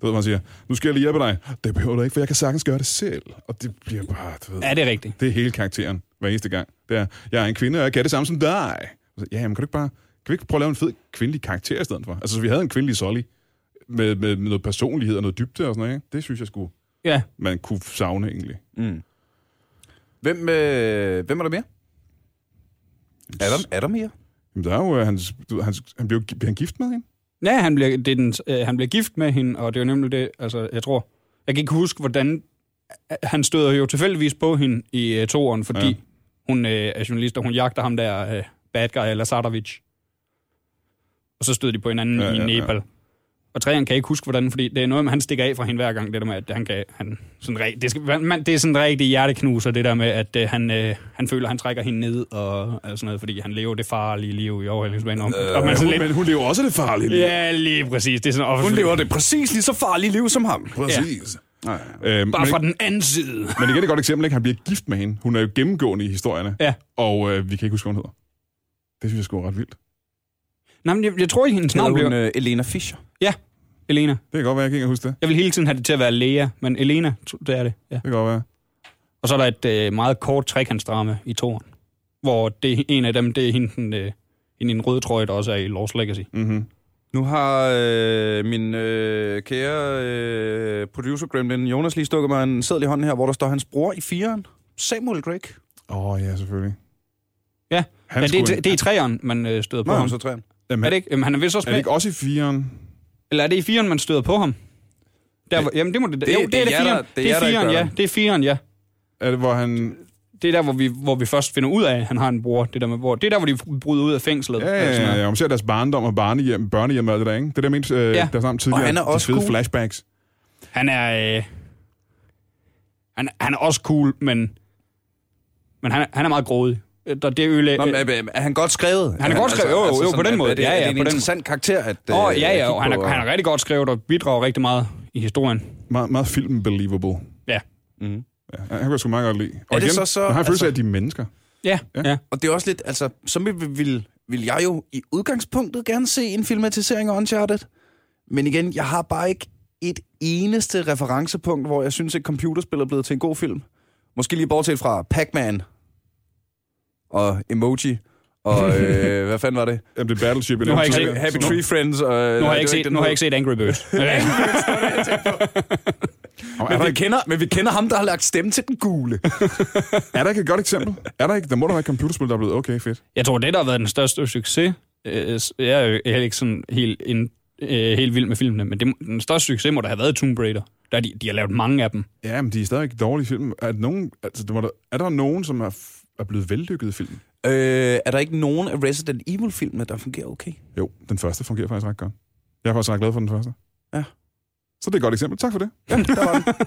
S1: Du ved, man siger, nu skal jeg lige hjælpe dig. Det behøver du ikke, for jeg kan sagtens gøre det selv. Og det bliver bare, du ved...
S3: Ja, det er rigtigt.
S1: Det er hele karakteren hver eneste gang. Det er, jeg er en kvinde, og jeg kan det samme som dig. Så, ja, men kan du ikke bare kan vi ikke prøve at lave en fed kvindelig karakter i stedet for? Altså, så vi havde en kvindelig Solly med, med, med noget personlighed og noget dybde og sådan noget, ikke? Det synes jeg skulle
S3: Ja.
S1: man kunne savne egentlig.
S2: Mm. Hvem, øh, hvem er der mere? Er der, er der mere?
S1: Jamen, der er jo, øh, hans, du, ved, hans, han blev, blev han gift med hende?
S3: Ja, han bliver, det er den, øh, han bliver gift med hende, og det er jo nemlig det, altså, jeg tror... Jeg kan ikke huske, hvordan... øh, Han støder jo tilfældigvis på hende i øh, toeren, fordi
S1: Ja.
S3: ja. hun øh, er journalist, og hun jagter ham der øh, bad guy, eller Sardovic. Og så støder de på hinanden
S1: Ja,
S3: ja, i
S1: ja, ja.
S3: Nepal. Og træerne kan jeg ikke huske, hvordan, fordi det er noget med, han stikker af fra hende hver gang, det der med, at han kan... Han, sådan re, det, skal, man, det er sådan en rigtig hjerteknuser, det der med, at øh, han, øh, han føler, han trækker hende ned, og, og sådan noget, fordi han lever det farlige liv i overhældningsbanen. Øh, og man sådan lidt,
S1: Men hun lever også det farlige.
S3: Ja, lige præcis. Det er sådan, og
S2: Hun lever det præcis lige så farlige liv som ham.
S1: Præcis. Ja.
S2: Nej.
S1: Øhm,
S3: Bare
S1: men,
S3: fra den anden side.
S1: men igen et godt eksempel, ikke? Han bliver gift med hende. Hun er jo gennemgående i historierne.
S3: Ja.
S1: Og øh, vi kan ikke huske, hvad hun hedder. Det synes jeg sgu er ret vildt.
S3: Nej, men jeg, jeg tror ikke, hendes navn
S2: Hedder hun
S3: bliver...
S2: øh, Elena Fischer?
S3: Elena.
S1: Det kan godt være, jeg kan ikke huske det.
S3: Jeg vil hele tiden have det til at være Lea, men Elena, det er det. Ja.
S1: Det kan godt være.
S3: Og så er der et øh, meget kort trekantsdrama i toren, hvor det, en af dem, det er hende, den, øh, hende i den røde trøje, der også er i Lost Legacy.
S1: Mm-hmm.
S2: Nu har øh, min øh, kære øh, producer Gremlin Jonas lige stukket mig en seddel i hånden her, hvor der står hans bror i fireren. Samuel Drake.
S1: Åh, oh, ja, selvfølgelig.
S3: Ja.
S1: Han
S3: ja,
S1: skulle-
S3: det, er, det er i træeren, man øh, støder på
S2: Nå,
S3: ham.
S2: så træer.
S1: Jamen,
S3: Er det ikke? Jamen, han er vist også
S1: er det
S3: med.
S1: ikke også i firen?
S3: Eller er det i firen, man støder på ham? Der, hvor, jamen, det må det,
S2: Det-
S3: jo, det
S2: det
S3: er
S2: er
S3: det
S2: jer, der-
S3: firen.
S2: det er
S3: Det
S2: jer,
S3: er
S2: der ikke
S3: firen,
S2: gør
S3: ja.
S2: det.
S3: Det er firen, ja.
S1: Er det, hvor han...
S3: Det er der, hvor vi, hvor vi først finder ud af, at han har en bror. Det, der med, hvor, det er der, hvor de bryder ud af fængslet. Altså,
S1: Ja,
S3: og alt sådan
S1: ja,
S3: noget.
S1: ja. Om ser deres barndom og barnehjem, børnehjem og alt det der, ikke? Det er det, jeg mente, øh,
S3: Ja.
S1: ja. der sammen tidligere.
S2: Og han er også
S1: de fede
S2: cool.
S1: flashbacks.
S3: Han er... Øh, han, han er også cool, men... Men han, er- han er meget grådig. Øh, Der, det ødelæg,
S2: Nå, men,
S3: øh,
S2: er, er han godt skrevet? Altså,
S3: Han er godt skrevet, jo, jo, jo, på
S2: sådan,
S3: den
S2: er-
S3: måde.
S2: Er det,
S3: Ja, ja,
S2: er det en
S3: på den-
S2: interessant karakter, at øh,
S3: Åh, oh, ja,
S2: at
S3: ja,
S2: kigge
S3: og han
S2: på,
S3: er,
S2: og-
S3: han er rigtig godt skrevet og bidrager rigtig meget i historien.
S1: Meget, meget filmen believable.
S3: Ja.
S2: Mhm.
S1: Ja, han kunne jeg sgu meget godt lide. Og
S2: Er det
S1: igen,
S2: så- så-
S1: man har en følelse af, at
S2: altså-
S1: de er mennesker.
S3: Ja,
S1: Ja.
S3: ja. ja.
S2: Og det er også lidt, altså, så vil, vil, vil jeg jo i udgangspunktet gerne se en filmatisering af Uncharted. Men igen, jeg har bare ikke et eneste referencepunkt, hvor jeg synes, et computerspil er blevet til en god film. Måske lige bortset fra Pac-Man og Emoji
S3: [LAUGHS]
S2: og øh, hvad fanden var det?
S1: Jamen, det er Battleship.
S3: Nu har jeg ikke set-
S1: Sådan
S2: Happy
S1: noget.
S2: Tree Friends. Og, nu har
S3: Nu har, jeg ikke set, nu har jeg ikke set Angry
S2: [LAUGHS]
S3: Birds. øh, Ja.
S1: Og Er
S2: Men
S1: der,
S2: vi,
S1: ikke,
S2: kender, men vi kender ham, der har lagt stemme til den
S3: [LAUGHS]
S2: gule.
S1: er der ikke et godt eksempel? Er der ikke, der må der være et computerspil, der er blevet okay fedt.
S3: Jeg tror, det, der har været den største succes... øh, s- Jeg er jo heller ikke sådan helt, ind, øh, helt vild med filmene, men det, må- den største succes må da have været Tomb Raider. Der er de, de har lavet mange af dem.
S1: Ja, men de er stadigvæk dårlige film. Er, nogen, altså, der må der, er der nogen, som er, f- er blevet vellykket i filmen?
S2: øh, er der ikke nogen af Resident Evil-filmene, der fungerer okay?
S1: Jo, den første fungerer faktisk ret godt. Jeg er faktisk ret glad for den første.
S2: Ja.
S1: Så det er et godt eksempel. Tak for det.
S2: Ja, der var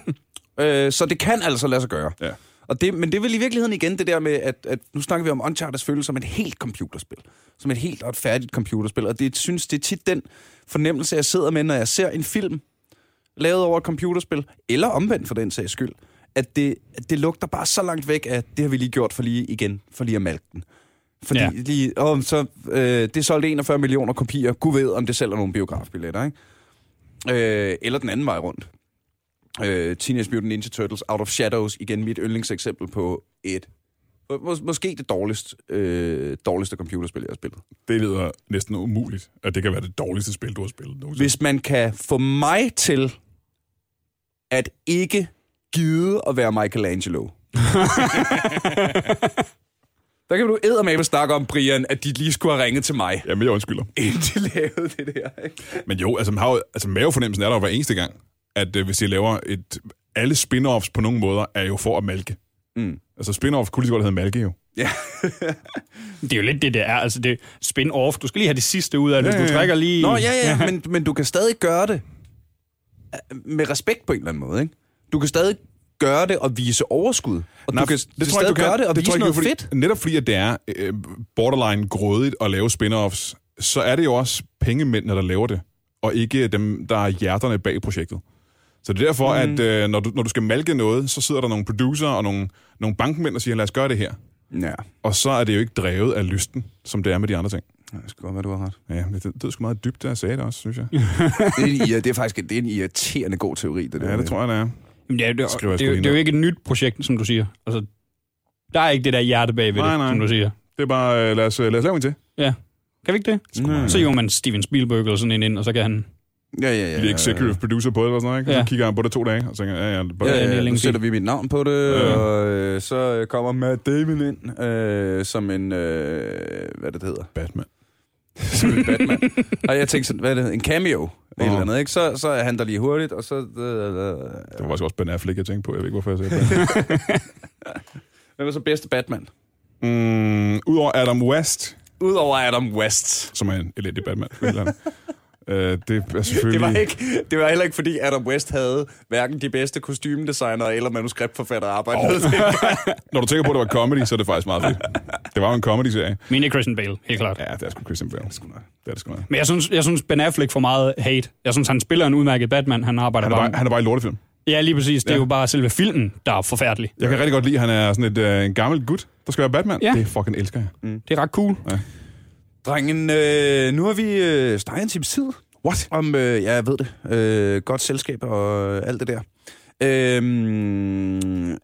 S2: den. øh, så det kan altså lade sig gøre.
S1: Ja.
S2: Og det, men det er vel i virkeligheden igen det der med, at, at nu snakker vi om Uncharted selvfølgelig som et helt computerspil. Som et helt og et færdigt computerspil. Og det synes det er tit den fornemmelse, jeg sidder med, når jeg ser en film lavet over et computerspil, eller omvendt for den sags skyld, at det, at det lugter bare så langt væk, at det har vi lige gjort for lige igen, for lige at malke den. Fordi
S3: Ja.
S2: ja. lige, åh, så, øh, det solgte 41 millioner kopier. Gud ved, om det sælger nogle biografbilletter, ikke? Øh, eller den anden vej rundt. Øh, Teenage Mutant Ninja Turtles Out of Shadows, igen mit yndlingseksempel på et, må, mås- måske det dårligste, øh, dårligste computerspil, jeg har spillet.
S1: Det lyder næsten umuligt, at det kan være det dårligste spil, du har spillet nogensinde.
S2: Hvis man kan få mig til at ikke gide at være Michelangelo. Der kan du eddermame snakke om, Brian, at de lige skulle have ringet til mig,
S1: Jamen, jeg undskylder.
S2: inden de lavede det der. Ikke?
S1: Men jo, altså, man har jo, altså mavefornemmelsen er der jo hver eneste gang, at øh, hvis de laver et... Alle spin-offs på nogle måder er jo for at malke.
S2: Mm.
S1: Altså spin-offs kunne lige så godt hedde malke jo.
S3: Det er jo lidt det, det er. Altså, det er spin-off. Du skal lige have det sidste ud af det.
S1: Ja,
S3: Du
S1: ja, ja.
S3: trækker lige...
S2: Nå, ja, ja, men, men du kan stadig gøre det øh, med respekt på en eller anden måde, ikke? Du kan stadig gøre det og vise overskud. Og Nej, du kan, det du stadig gøre det og det vise
S1: tror jeg
S2: noget
S1: fordi,
S2: fedt.
S1: Netop fordi, at det er øh, borderline grådigt at lave spin-offs, så er det jo også pengemændene, der laver det, og ikke øh, dem, der er hjerterne bag projektet. Så det er derfor, mm. at øh, når, du, når du skal malke noget, så sidder der nogle producer og nogle, nogle bankmænd og siger, lad os gøre det her.
S2: Ja,
S1: Og så er det jo ikke drevet af lysten, som det er med de andre ting.
S2: det skal godt være, du
S1: [LAUGHS]
S2: har ret.
S1: Ja, det, det er sgu meget dybt, da jeg sagde det også, synes jeg.
S2: Det er, en, irri- det er faktisk det er en irriterende god teori, det der.
S1: Ja, det tror jeg, det er.
S3: Jamen, det, er, det,
S1: Skriver
S3: er,
S1: jeg
S3: det, er,
S1: sgu
S3: jo-
S1: lige
S3: det er jo
S1: ned.
S3: ikke et nyt projekt, som du siger. Altså, der er ikke det der hjerte bag ved
S1: Nej,
S3: det,
S1: nej.
S3: som du siger.
S1: Det er bare, øh, lad os, øh, lad os lave en til.
S3: Ja. Kan vi ikke det?
S1: Sgu meget.
S3: Så hiver man Steven Spielberg eller sådan en ind, og så kan han...
S2: Mm. Ja, ja, ja.
S1: Bliver executive producer på det eller sådan noget, ikke? Ja.
S3: Ja.
S1: Så kigger han på det to dage, og tænker, ja, ja, det er bare,
S2: Ja,
S3: det er
S2: ja, ja,
S3: længe
S2: nu
S3: siden.
S2: sætter vi mit navn på det,
S1: Ja.
S2: ja. og øh, så øh, kommer Matt Damon ind øh, som en, øh, hvad er det det hedder,
S1: Batman.
S2: som en [LAUGHS] Batman. og jeg tænkte sådan, hvad er det, en cameo,
S1: Nå.
S2: eller et eller andet, ikke? Så, så er han der lige hurtigt, og så... Øh, øh,
S1: Det var faktisk også Ben Affleck, jeg tænkte på. Jeg ved ikke, hvorfor jeg sagde Batman.
S2: Hvem er så bedste Batman?
S1: mm, Udover Adam West,
S2: Udover Adam West.
S1: som er en elendig Batman. et Eller andet. øh, det er selvfølgelig...
S2: Det var, ikke, det var heller ikke, fordi Adam West havde hverken de bedste kostymedesignere eller manuskriptforfattere arbejdet med. [LAUGHS]
S1: Når du tænker på, at det var comedy, så er det faktisk meget fedt. Det var jo en comedy-serie.
S3: Mine Christian Bale, helt klart.
S1: Ja, det er sgu Christian Bale. Det er det sgu nok.
S3: Men jeg synes, jeg synes, Ben Affleck får meget hate. Jeg synes, han spiller en udmærket Batman. Han arbejder
S1: Han er
S3: bare...
S1: bare, han er bare i lortefilm.
S3: Ja, lige præcis. Det er
S1: Ja.
S3: jo bare selve filmen, der er forfærdelig.
S1: Jeg kan rigtig godt lide, at han er sådan et, øh, en gammel gut, der skal være Batman.
S3: Ja.
S1: Det fucking elsker jeg.
S3: Det er ret cool.
S2: Drengen, øh, nu har vi øh, snakket en times tid. What? Om, øh, ja, jeg ved det, øh, godt selskab og øh, alt det der. Øh,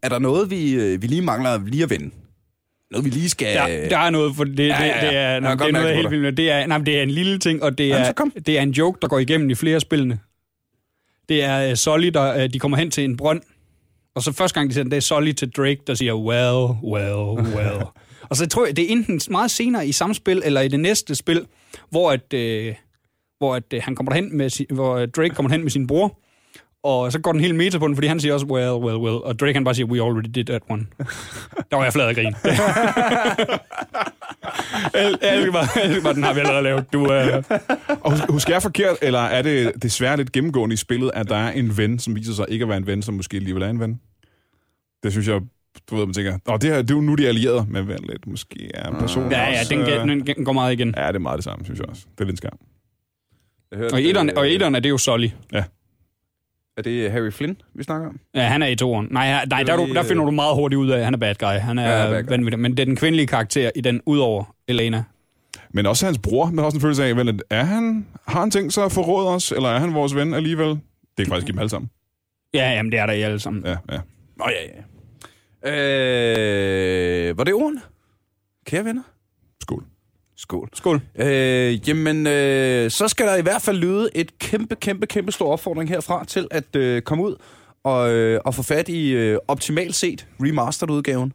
S2: er der noget, vi, øh, vi lige mangler lige at vende? Noget, vi lige skal...
S3: Der, der er noget, for det, det,
S2: øh, ja,
S3: det,
S2: ja.
S3: det er,
S2: Jeg kan
S3: nej,
S2: godt
S3: det
S2: mærke
S3: er noget
S2: det på
S3: af hele
S2: dig.
S3: filmen. Det er, nej, men det er en lille ting, og det
S2: Jamen, så
S3: er,
S2: kom.
S3: det er en joke, der går igennem i flere af spillene. Det er uh, Sully, der uh, de kommer hen til en brønd, og så første gang, de ser den, det er Sully til Drake, der siger, well, well,
S2: [LAUGHS]
S3: well. og så tror jeg, det er enten meget senere i samme spil, eller i det næste spil, hvor at, øh, hvor at, øh, han kommer derhen med si, hvor øh, Drake kommer hen med sin bror, og så går den helt meta på den, fordi han siger også, well, well, well. Og Drake han bare siger, we already did that
S2: [LAUGHS]
S3: one. Der var jeg flad af grin. Jeg elsker bare, jeg elsker bare, den har vi allerede lavet. Du, øh,
S1: Og hus- husker jeg forkert, eller er det desværre lidt gennemgående i spillet, at der er en ven, som viser sig ikke at være en ven, som måske alligevel er en ven? Det synes jeg, du ved, man tænker, Nå, det, her, det er jo nu, de er allierede, men vent lidt, måske er en person
S3: ja, ja,
S1: også,
S3: den,
S1: øh,
S3: den, den går meget igen.
S1: Ja, det er meget det samme, synes jeg også. Det er lidt en skam.
S2: Jeg hørte,
S3: Og i etteren,
S2: øh,
S3: og i etteren er det jo Sully.
S2: Er det Harry Flynn, vi snakker om?
S3: Ja, han er i toeren. Nej, ja, nej
S2: Det er
S3: der, er
S2: lige,
S3: du, der finder du meget hurtigt ud af, at han er bad guy. Han
S2: Ja, han er
S3: er
S2: bad
S3: ja,
S2: guy.
S3: vanvittig. Men det er den kvindelige karakter i den, udover Elena.
S1: Men også hans bror, man har også en følelse af, vel, at er han, har han tænkt sig at forråde os, eller er han vores ven alligevel? Det kan faktisk give dem alle sammen.
S3: Ja, jamen det er der i alle sammen.
S1: Ja, ja.
S2: Nå, ja, ja. Øh, var det ordene? Kære venner?
S1: Skål.
S2: Skål.
S3: Skål.
S2: Øh, jamen, øh, så skal der i hvert fald lyde et kæmpe, kæmpe, kæmpe stor opfordring herfra til at øh, komme ud og, øh, og få fat i øh, optimalt set remastered-udgaven.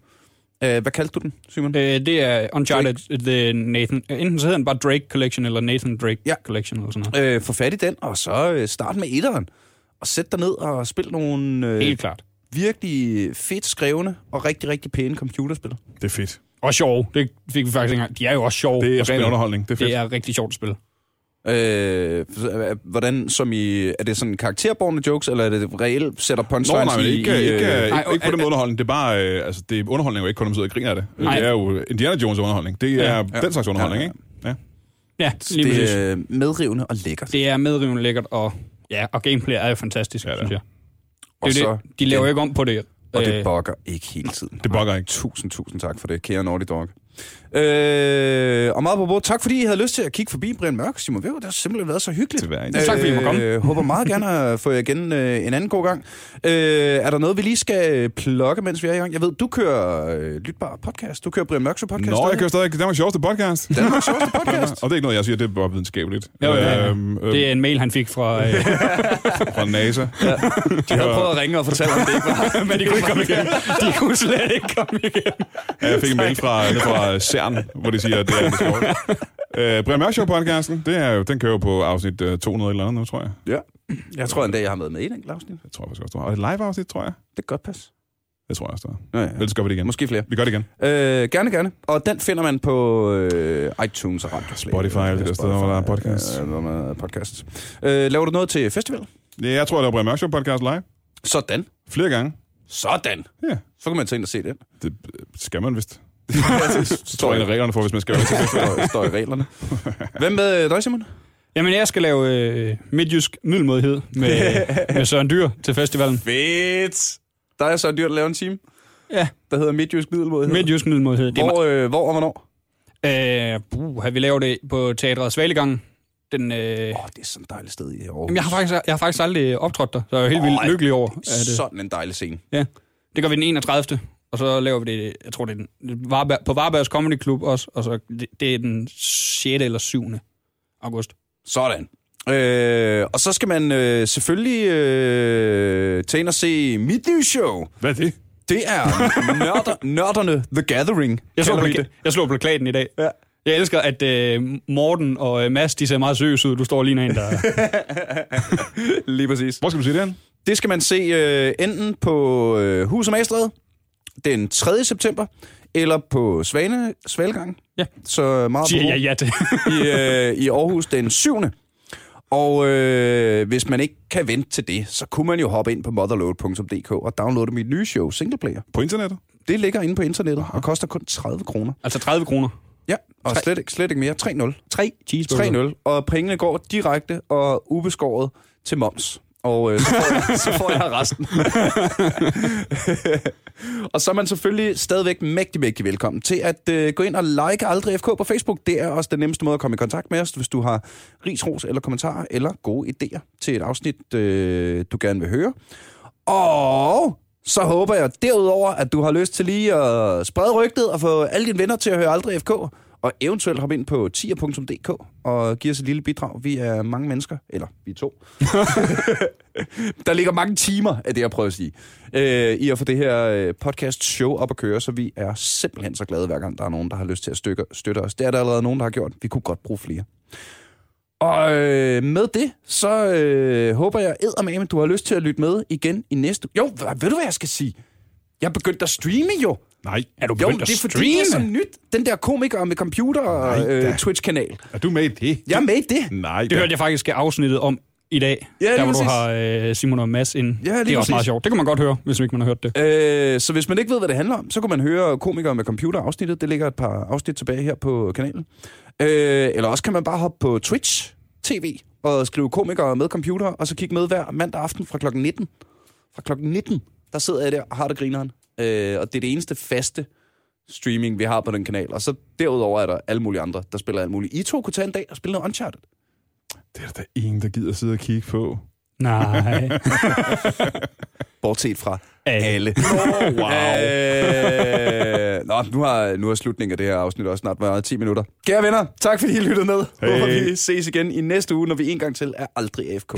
S2: Øh, hvad kaldte du den, Simon?
S3: Øh, det er Uncharted The Nathan. Enten så hedder den bare Drake Collection, eller Nathan Drake
S2: Ja.
S3: ja. Collection, eller sådan noget.
S2: Øh, få fat i den, og så øh, start med etteren. Og sæt dig ned og spil nogle øh,
S3: Helt klart.
S2: virkelig fedt skrevne og rigtig, rigtig pæne computerspil.
S1: Det er fedt.
S3: Og sjov. Det fik vi faktisk ikke engang. De er jo også sjove.
S1: Det
S3: at
S1: er ren
S3: spille.
S1: underholdning. Det er fedt.
S3: Det er rigtig sjovt at spille.
S2: Øh, så, øh, hvordan, som i, er det sådan karakterborgende jokes, eller er det reelt sætter
S1: Nå, nej,
S2: punchlines
S1: men
S2: i,
S1: ikke,
S2: i, øh,
S1: ikke, ikke,
S3: nej,
S1: ikke på den måde underholdning. Det er bare, øh, altså, det er underholdning er jo ikke kun, at man sidder og griner af det.
S3: Nej.
S1: Det er jo Indiana Jones underholdning. Det er
S3: Ja.
S1: ja. den slags underholdning, ikke? Ja.
S3: Ja, lige
S2: det
S3: præcis.
S2: er medrivende og lækkert.
S3: Det er medrivende lækkert, og, ja, og gameplay er jo fantastisk,
S1: Ja,
S3: ja,
S1: det er.
S3: synes jeg.
S2: Og
S3: Det er jo
S2: så
S3: det. De laver
S2: igen.
S3: jo ikke om på det.
S2: Og
S3: Øh,
S2: det bokker ikke hele tiden.
S1: Det bokker ikke.
S2: Tusind, tusind tak for det, kære Naughty Dog. Øh, og meget på bordet. Tak fordi I havde lyst til at kigge forbi Brian Mørk, Simon Væver. Det har simpelthen været så hyggeligt.
S1: Det var en-
S3: Tak, fordi I måtte komme.
S2: Øh, håber meget gerne at få jer igen øh, en anden god gang. Øh, er der noget, vi lige skal plukke, mens vi er i gang? Jeg ved, du kører øh, Lytbar podcast. Du kører Brian Mørks podcast.
S1: Nå, jeg kører stadig Danmarks sjoveste podcast.
S2: Danmarks sjoveste podcast.
S1: Og det er ikke noget, jeg siger, det er bare videnskabeligt.
S3: Jo, ja, ja.
S1: Øhm, øh,
S3: det er en mail, han fik
S2: [LAUGHS]
S3: fra... Øh,
S1: Fra NASA.
S2: De havde prøvet at ringe og fortælle om [LAUGHS] det ikke var.
S3: men de kunne ikke komme
S2: [LAUGHS]
S3: igen. De kunne slet ikke komme igen.
S1: Ja, jeg fik en mail fra, nede fra CERN, hvor de siger, at det er det sjovt. Øh, Brian Mørk Show podcasten, det er jo, den kører jo på afsnit øh, 200 eller andet nu, tror jeg.
S2: Ja. Jeg tror en dag, jeg har med med i et enkelt afsnit.
S1: Jeg tror faktisk også, du har. Og et live afsnit, tror jeg.
S2: Det kan godt passe.
S1: Det tror jeg også, du har.
S2: Nå, ja.
S1: Ellers gør vi det igen.
S2: Måske flere.
S1: Vi gør det igen.
S2: Øh, gerne, gerne. Og den finder man på øh, iTunes og Radio Play.
S1: Spotify, alle de der steder, hvor der er podcasts.
S2: podcasts. Ja, hvor man er podcasts. Øh, laver du noget til festival?
S1: Ja, Jeg tror, jeg laver Brian Mørk Show podcast live.
S2: Sådan.
S1: Flere gange.
S2: Sådan.
S1: Ja.
S2: Så kan man tage ind og se [LAUGHS] den.
S1: Det øh, skal man vist.
S2: det
S1: Det tror jeg, en af reglerne for, hvis man skal være til
S2: det står, står i reglerne. Hvem med øh, dig, Simon?
S3: Jamen, jeg skal lave øh, midtjysk middelmodighed
S2: [LAUGHS]
S3: med, med Søren Dyr til festivalen.
S2: Fedt. Der er så dyrt at lave en time,
S3: Ja,
S2: der hedder Midtjysk Middelmodighed.
S3: midtjysk middelmodighed. Det er
S2: Hvor, øh, hvor og hvornår?
S3: Øh, buh, vi lavet det på Teatret Svalegang. Den, øh,
S2: Åh, oh, det er sådan et dejligt sted i Aarhus.
S3: jamen, jeg, har faktisk, jeg har faktisk aldrig optrådt der, så jeg er helt vildt
S2: Åh,
S3: lykkelig over.
S2: det
S3: At,
S2: er
S3: øh,
S2: sådan en dejlig scene.
S3: ja. Det gør vi den 31. Og så laver vi det, jeg tror det er den, Varberg, på Varbergs Comedy Club også, og så det, det er den 6. eller 7. august.
S2: Sådan. Øh, og så skal man øh, selvfølgelig øh, tage ind og se mit nye show.
S1: [LAUGHS] Hvad er det?
S2: Det er
S3: [LAUGHS]
S2: nørder, Nørderne The Gathering.
S3: Jeg slog,
S2: kalder vi
S3: plaka- jeg slog plakaten i dag.
S2: Ja.
S3: Jeg elsker, at øh, Morten og øh, Mads, de ser meget seriøse ud. Du står
S2: [LAUGHS]
S3: lige en, der...
S2: det. Lige præcis.
S1: Hvor skal du sige det hen?
S2: Det skal man se øh, enten på øh, Hus og Magstræde den 3. september, eller på Svane, Svalegang.
S3: Ja.
S2: Så meget
S3: Siger
S2: på-
S3: jeg ja
S2: [LAUGHS]
S3: til.
S2: i, øh, i Aarhus den 7. Og øh, hvis man ikke kan vente til det, så kunne man jo hoppe ind på motherload.dk og downloade mit nye show, Singleplayer.
S1: På internettet?
S2: Det ligger inde på internettet og koster kun 30 kroner.
S3: altså 30 kroner.
S2: Ja, og slet, ikke- slet ikke mere. 3-0.
S3: 3 cheeseburger.
S2: 3-0. Og pengene går direkte og ubeskåret til moms. og øh, så, får [LAUGHS] jeg, så får jeg resten. og så er man selvfølgelig stadigvæk mægtig, mægtig velkommen til at øh, gå ind og like Aldrig FK på Facebook. Det er også den nemmeste måde at komme i kontakt med os, hvis du har ris, ros eller kommentarer eller gode idéer til et afsnit, øh, du gerne vil høre. Og så håber jeg derudover, at du har lyst til lige at sprede rygtet og få alle dine venner til at høre Aldrig FK, og eventuelt hoppe ind på tier.dk og give os et lille bidrag. Vi er mange mennesker, eller vi er to. Der ligger mange timer af det, jeg prøver at sige, øh, i at få det her øh, podcast show op at køre, så vi er simpelthen så glade, hver gang der er nogen, der har lyst til at stykke, støtte os. Det er der allerede nogen, der har gjort. Vi kunne godt bruge flere. Og øh, med det, så øh, håber jeg eddermame, du har lyst til at lytte med igen i næste... Jo, hva- ved du, hvad jeg skal sige? Jeg er begyndt at streame jo.
S1: Nej.
S3: Er du
S2: Jo,
S3: begyndt
S2: det er
S3: at
S2: fordi, det er så
S3: streame?
S2: nyt. Den der komiker med computer og
S1: Nej, da.
S2: øh, Twitch-kanal.
S1: Er du med i det?
S2: Jeg er med i det.
S1: Nej.
S3: Det hørte jeg faktisk er afsnittet om i dag,
S2: Ja, lige
S3: der hvor du
S2: præcis.
S3: har øh, Simon og Mads ind. det er også
S2: præcis.
S3: meget sjovt. Det kan man godt høre, hvis ikke man har hørt det.
S2: Øh, så hvis man ikke ved, hvad det handler om, så kan man høre komikere med computer afsnittet. Det ligger et par afsnit tilbage her på kanalen. Øh, eller også kan man bare hoppe på Twitch TV og skrive komikere med computer, og så kigge med hver mandag aften fra klokken 19. Fra klokken 19, der sidder jeg der og har det grineren. Øh, og det er det eneste faste streaming, vi har på den kanal. Og så derudover er der alle mulige andre, der spiller alt muligt. I to kunne tage en dag og spille noget Uncharted.
S1: Det er der da ingen, der gider sidde og kigge på.
S3: Nej.
S2: Bortset fra
S3: Alle.
S2: alle. Oh, wow. øh, nå, nu har, nu har slutningen af det her afsnit også snart været 10 minutter. Kære venner, tak fordi I lyttede med. Hey. Håber vi ses igen i næste uge, når vi en gang til er aldrig AFK.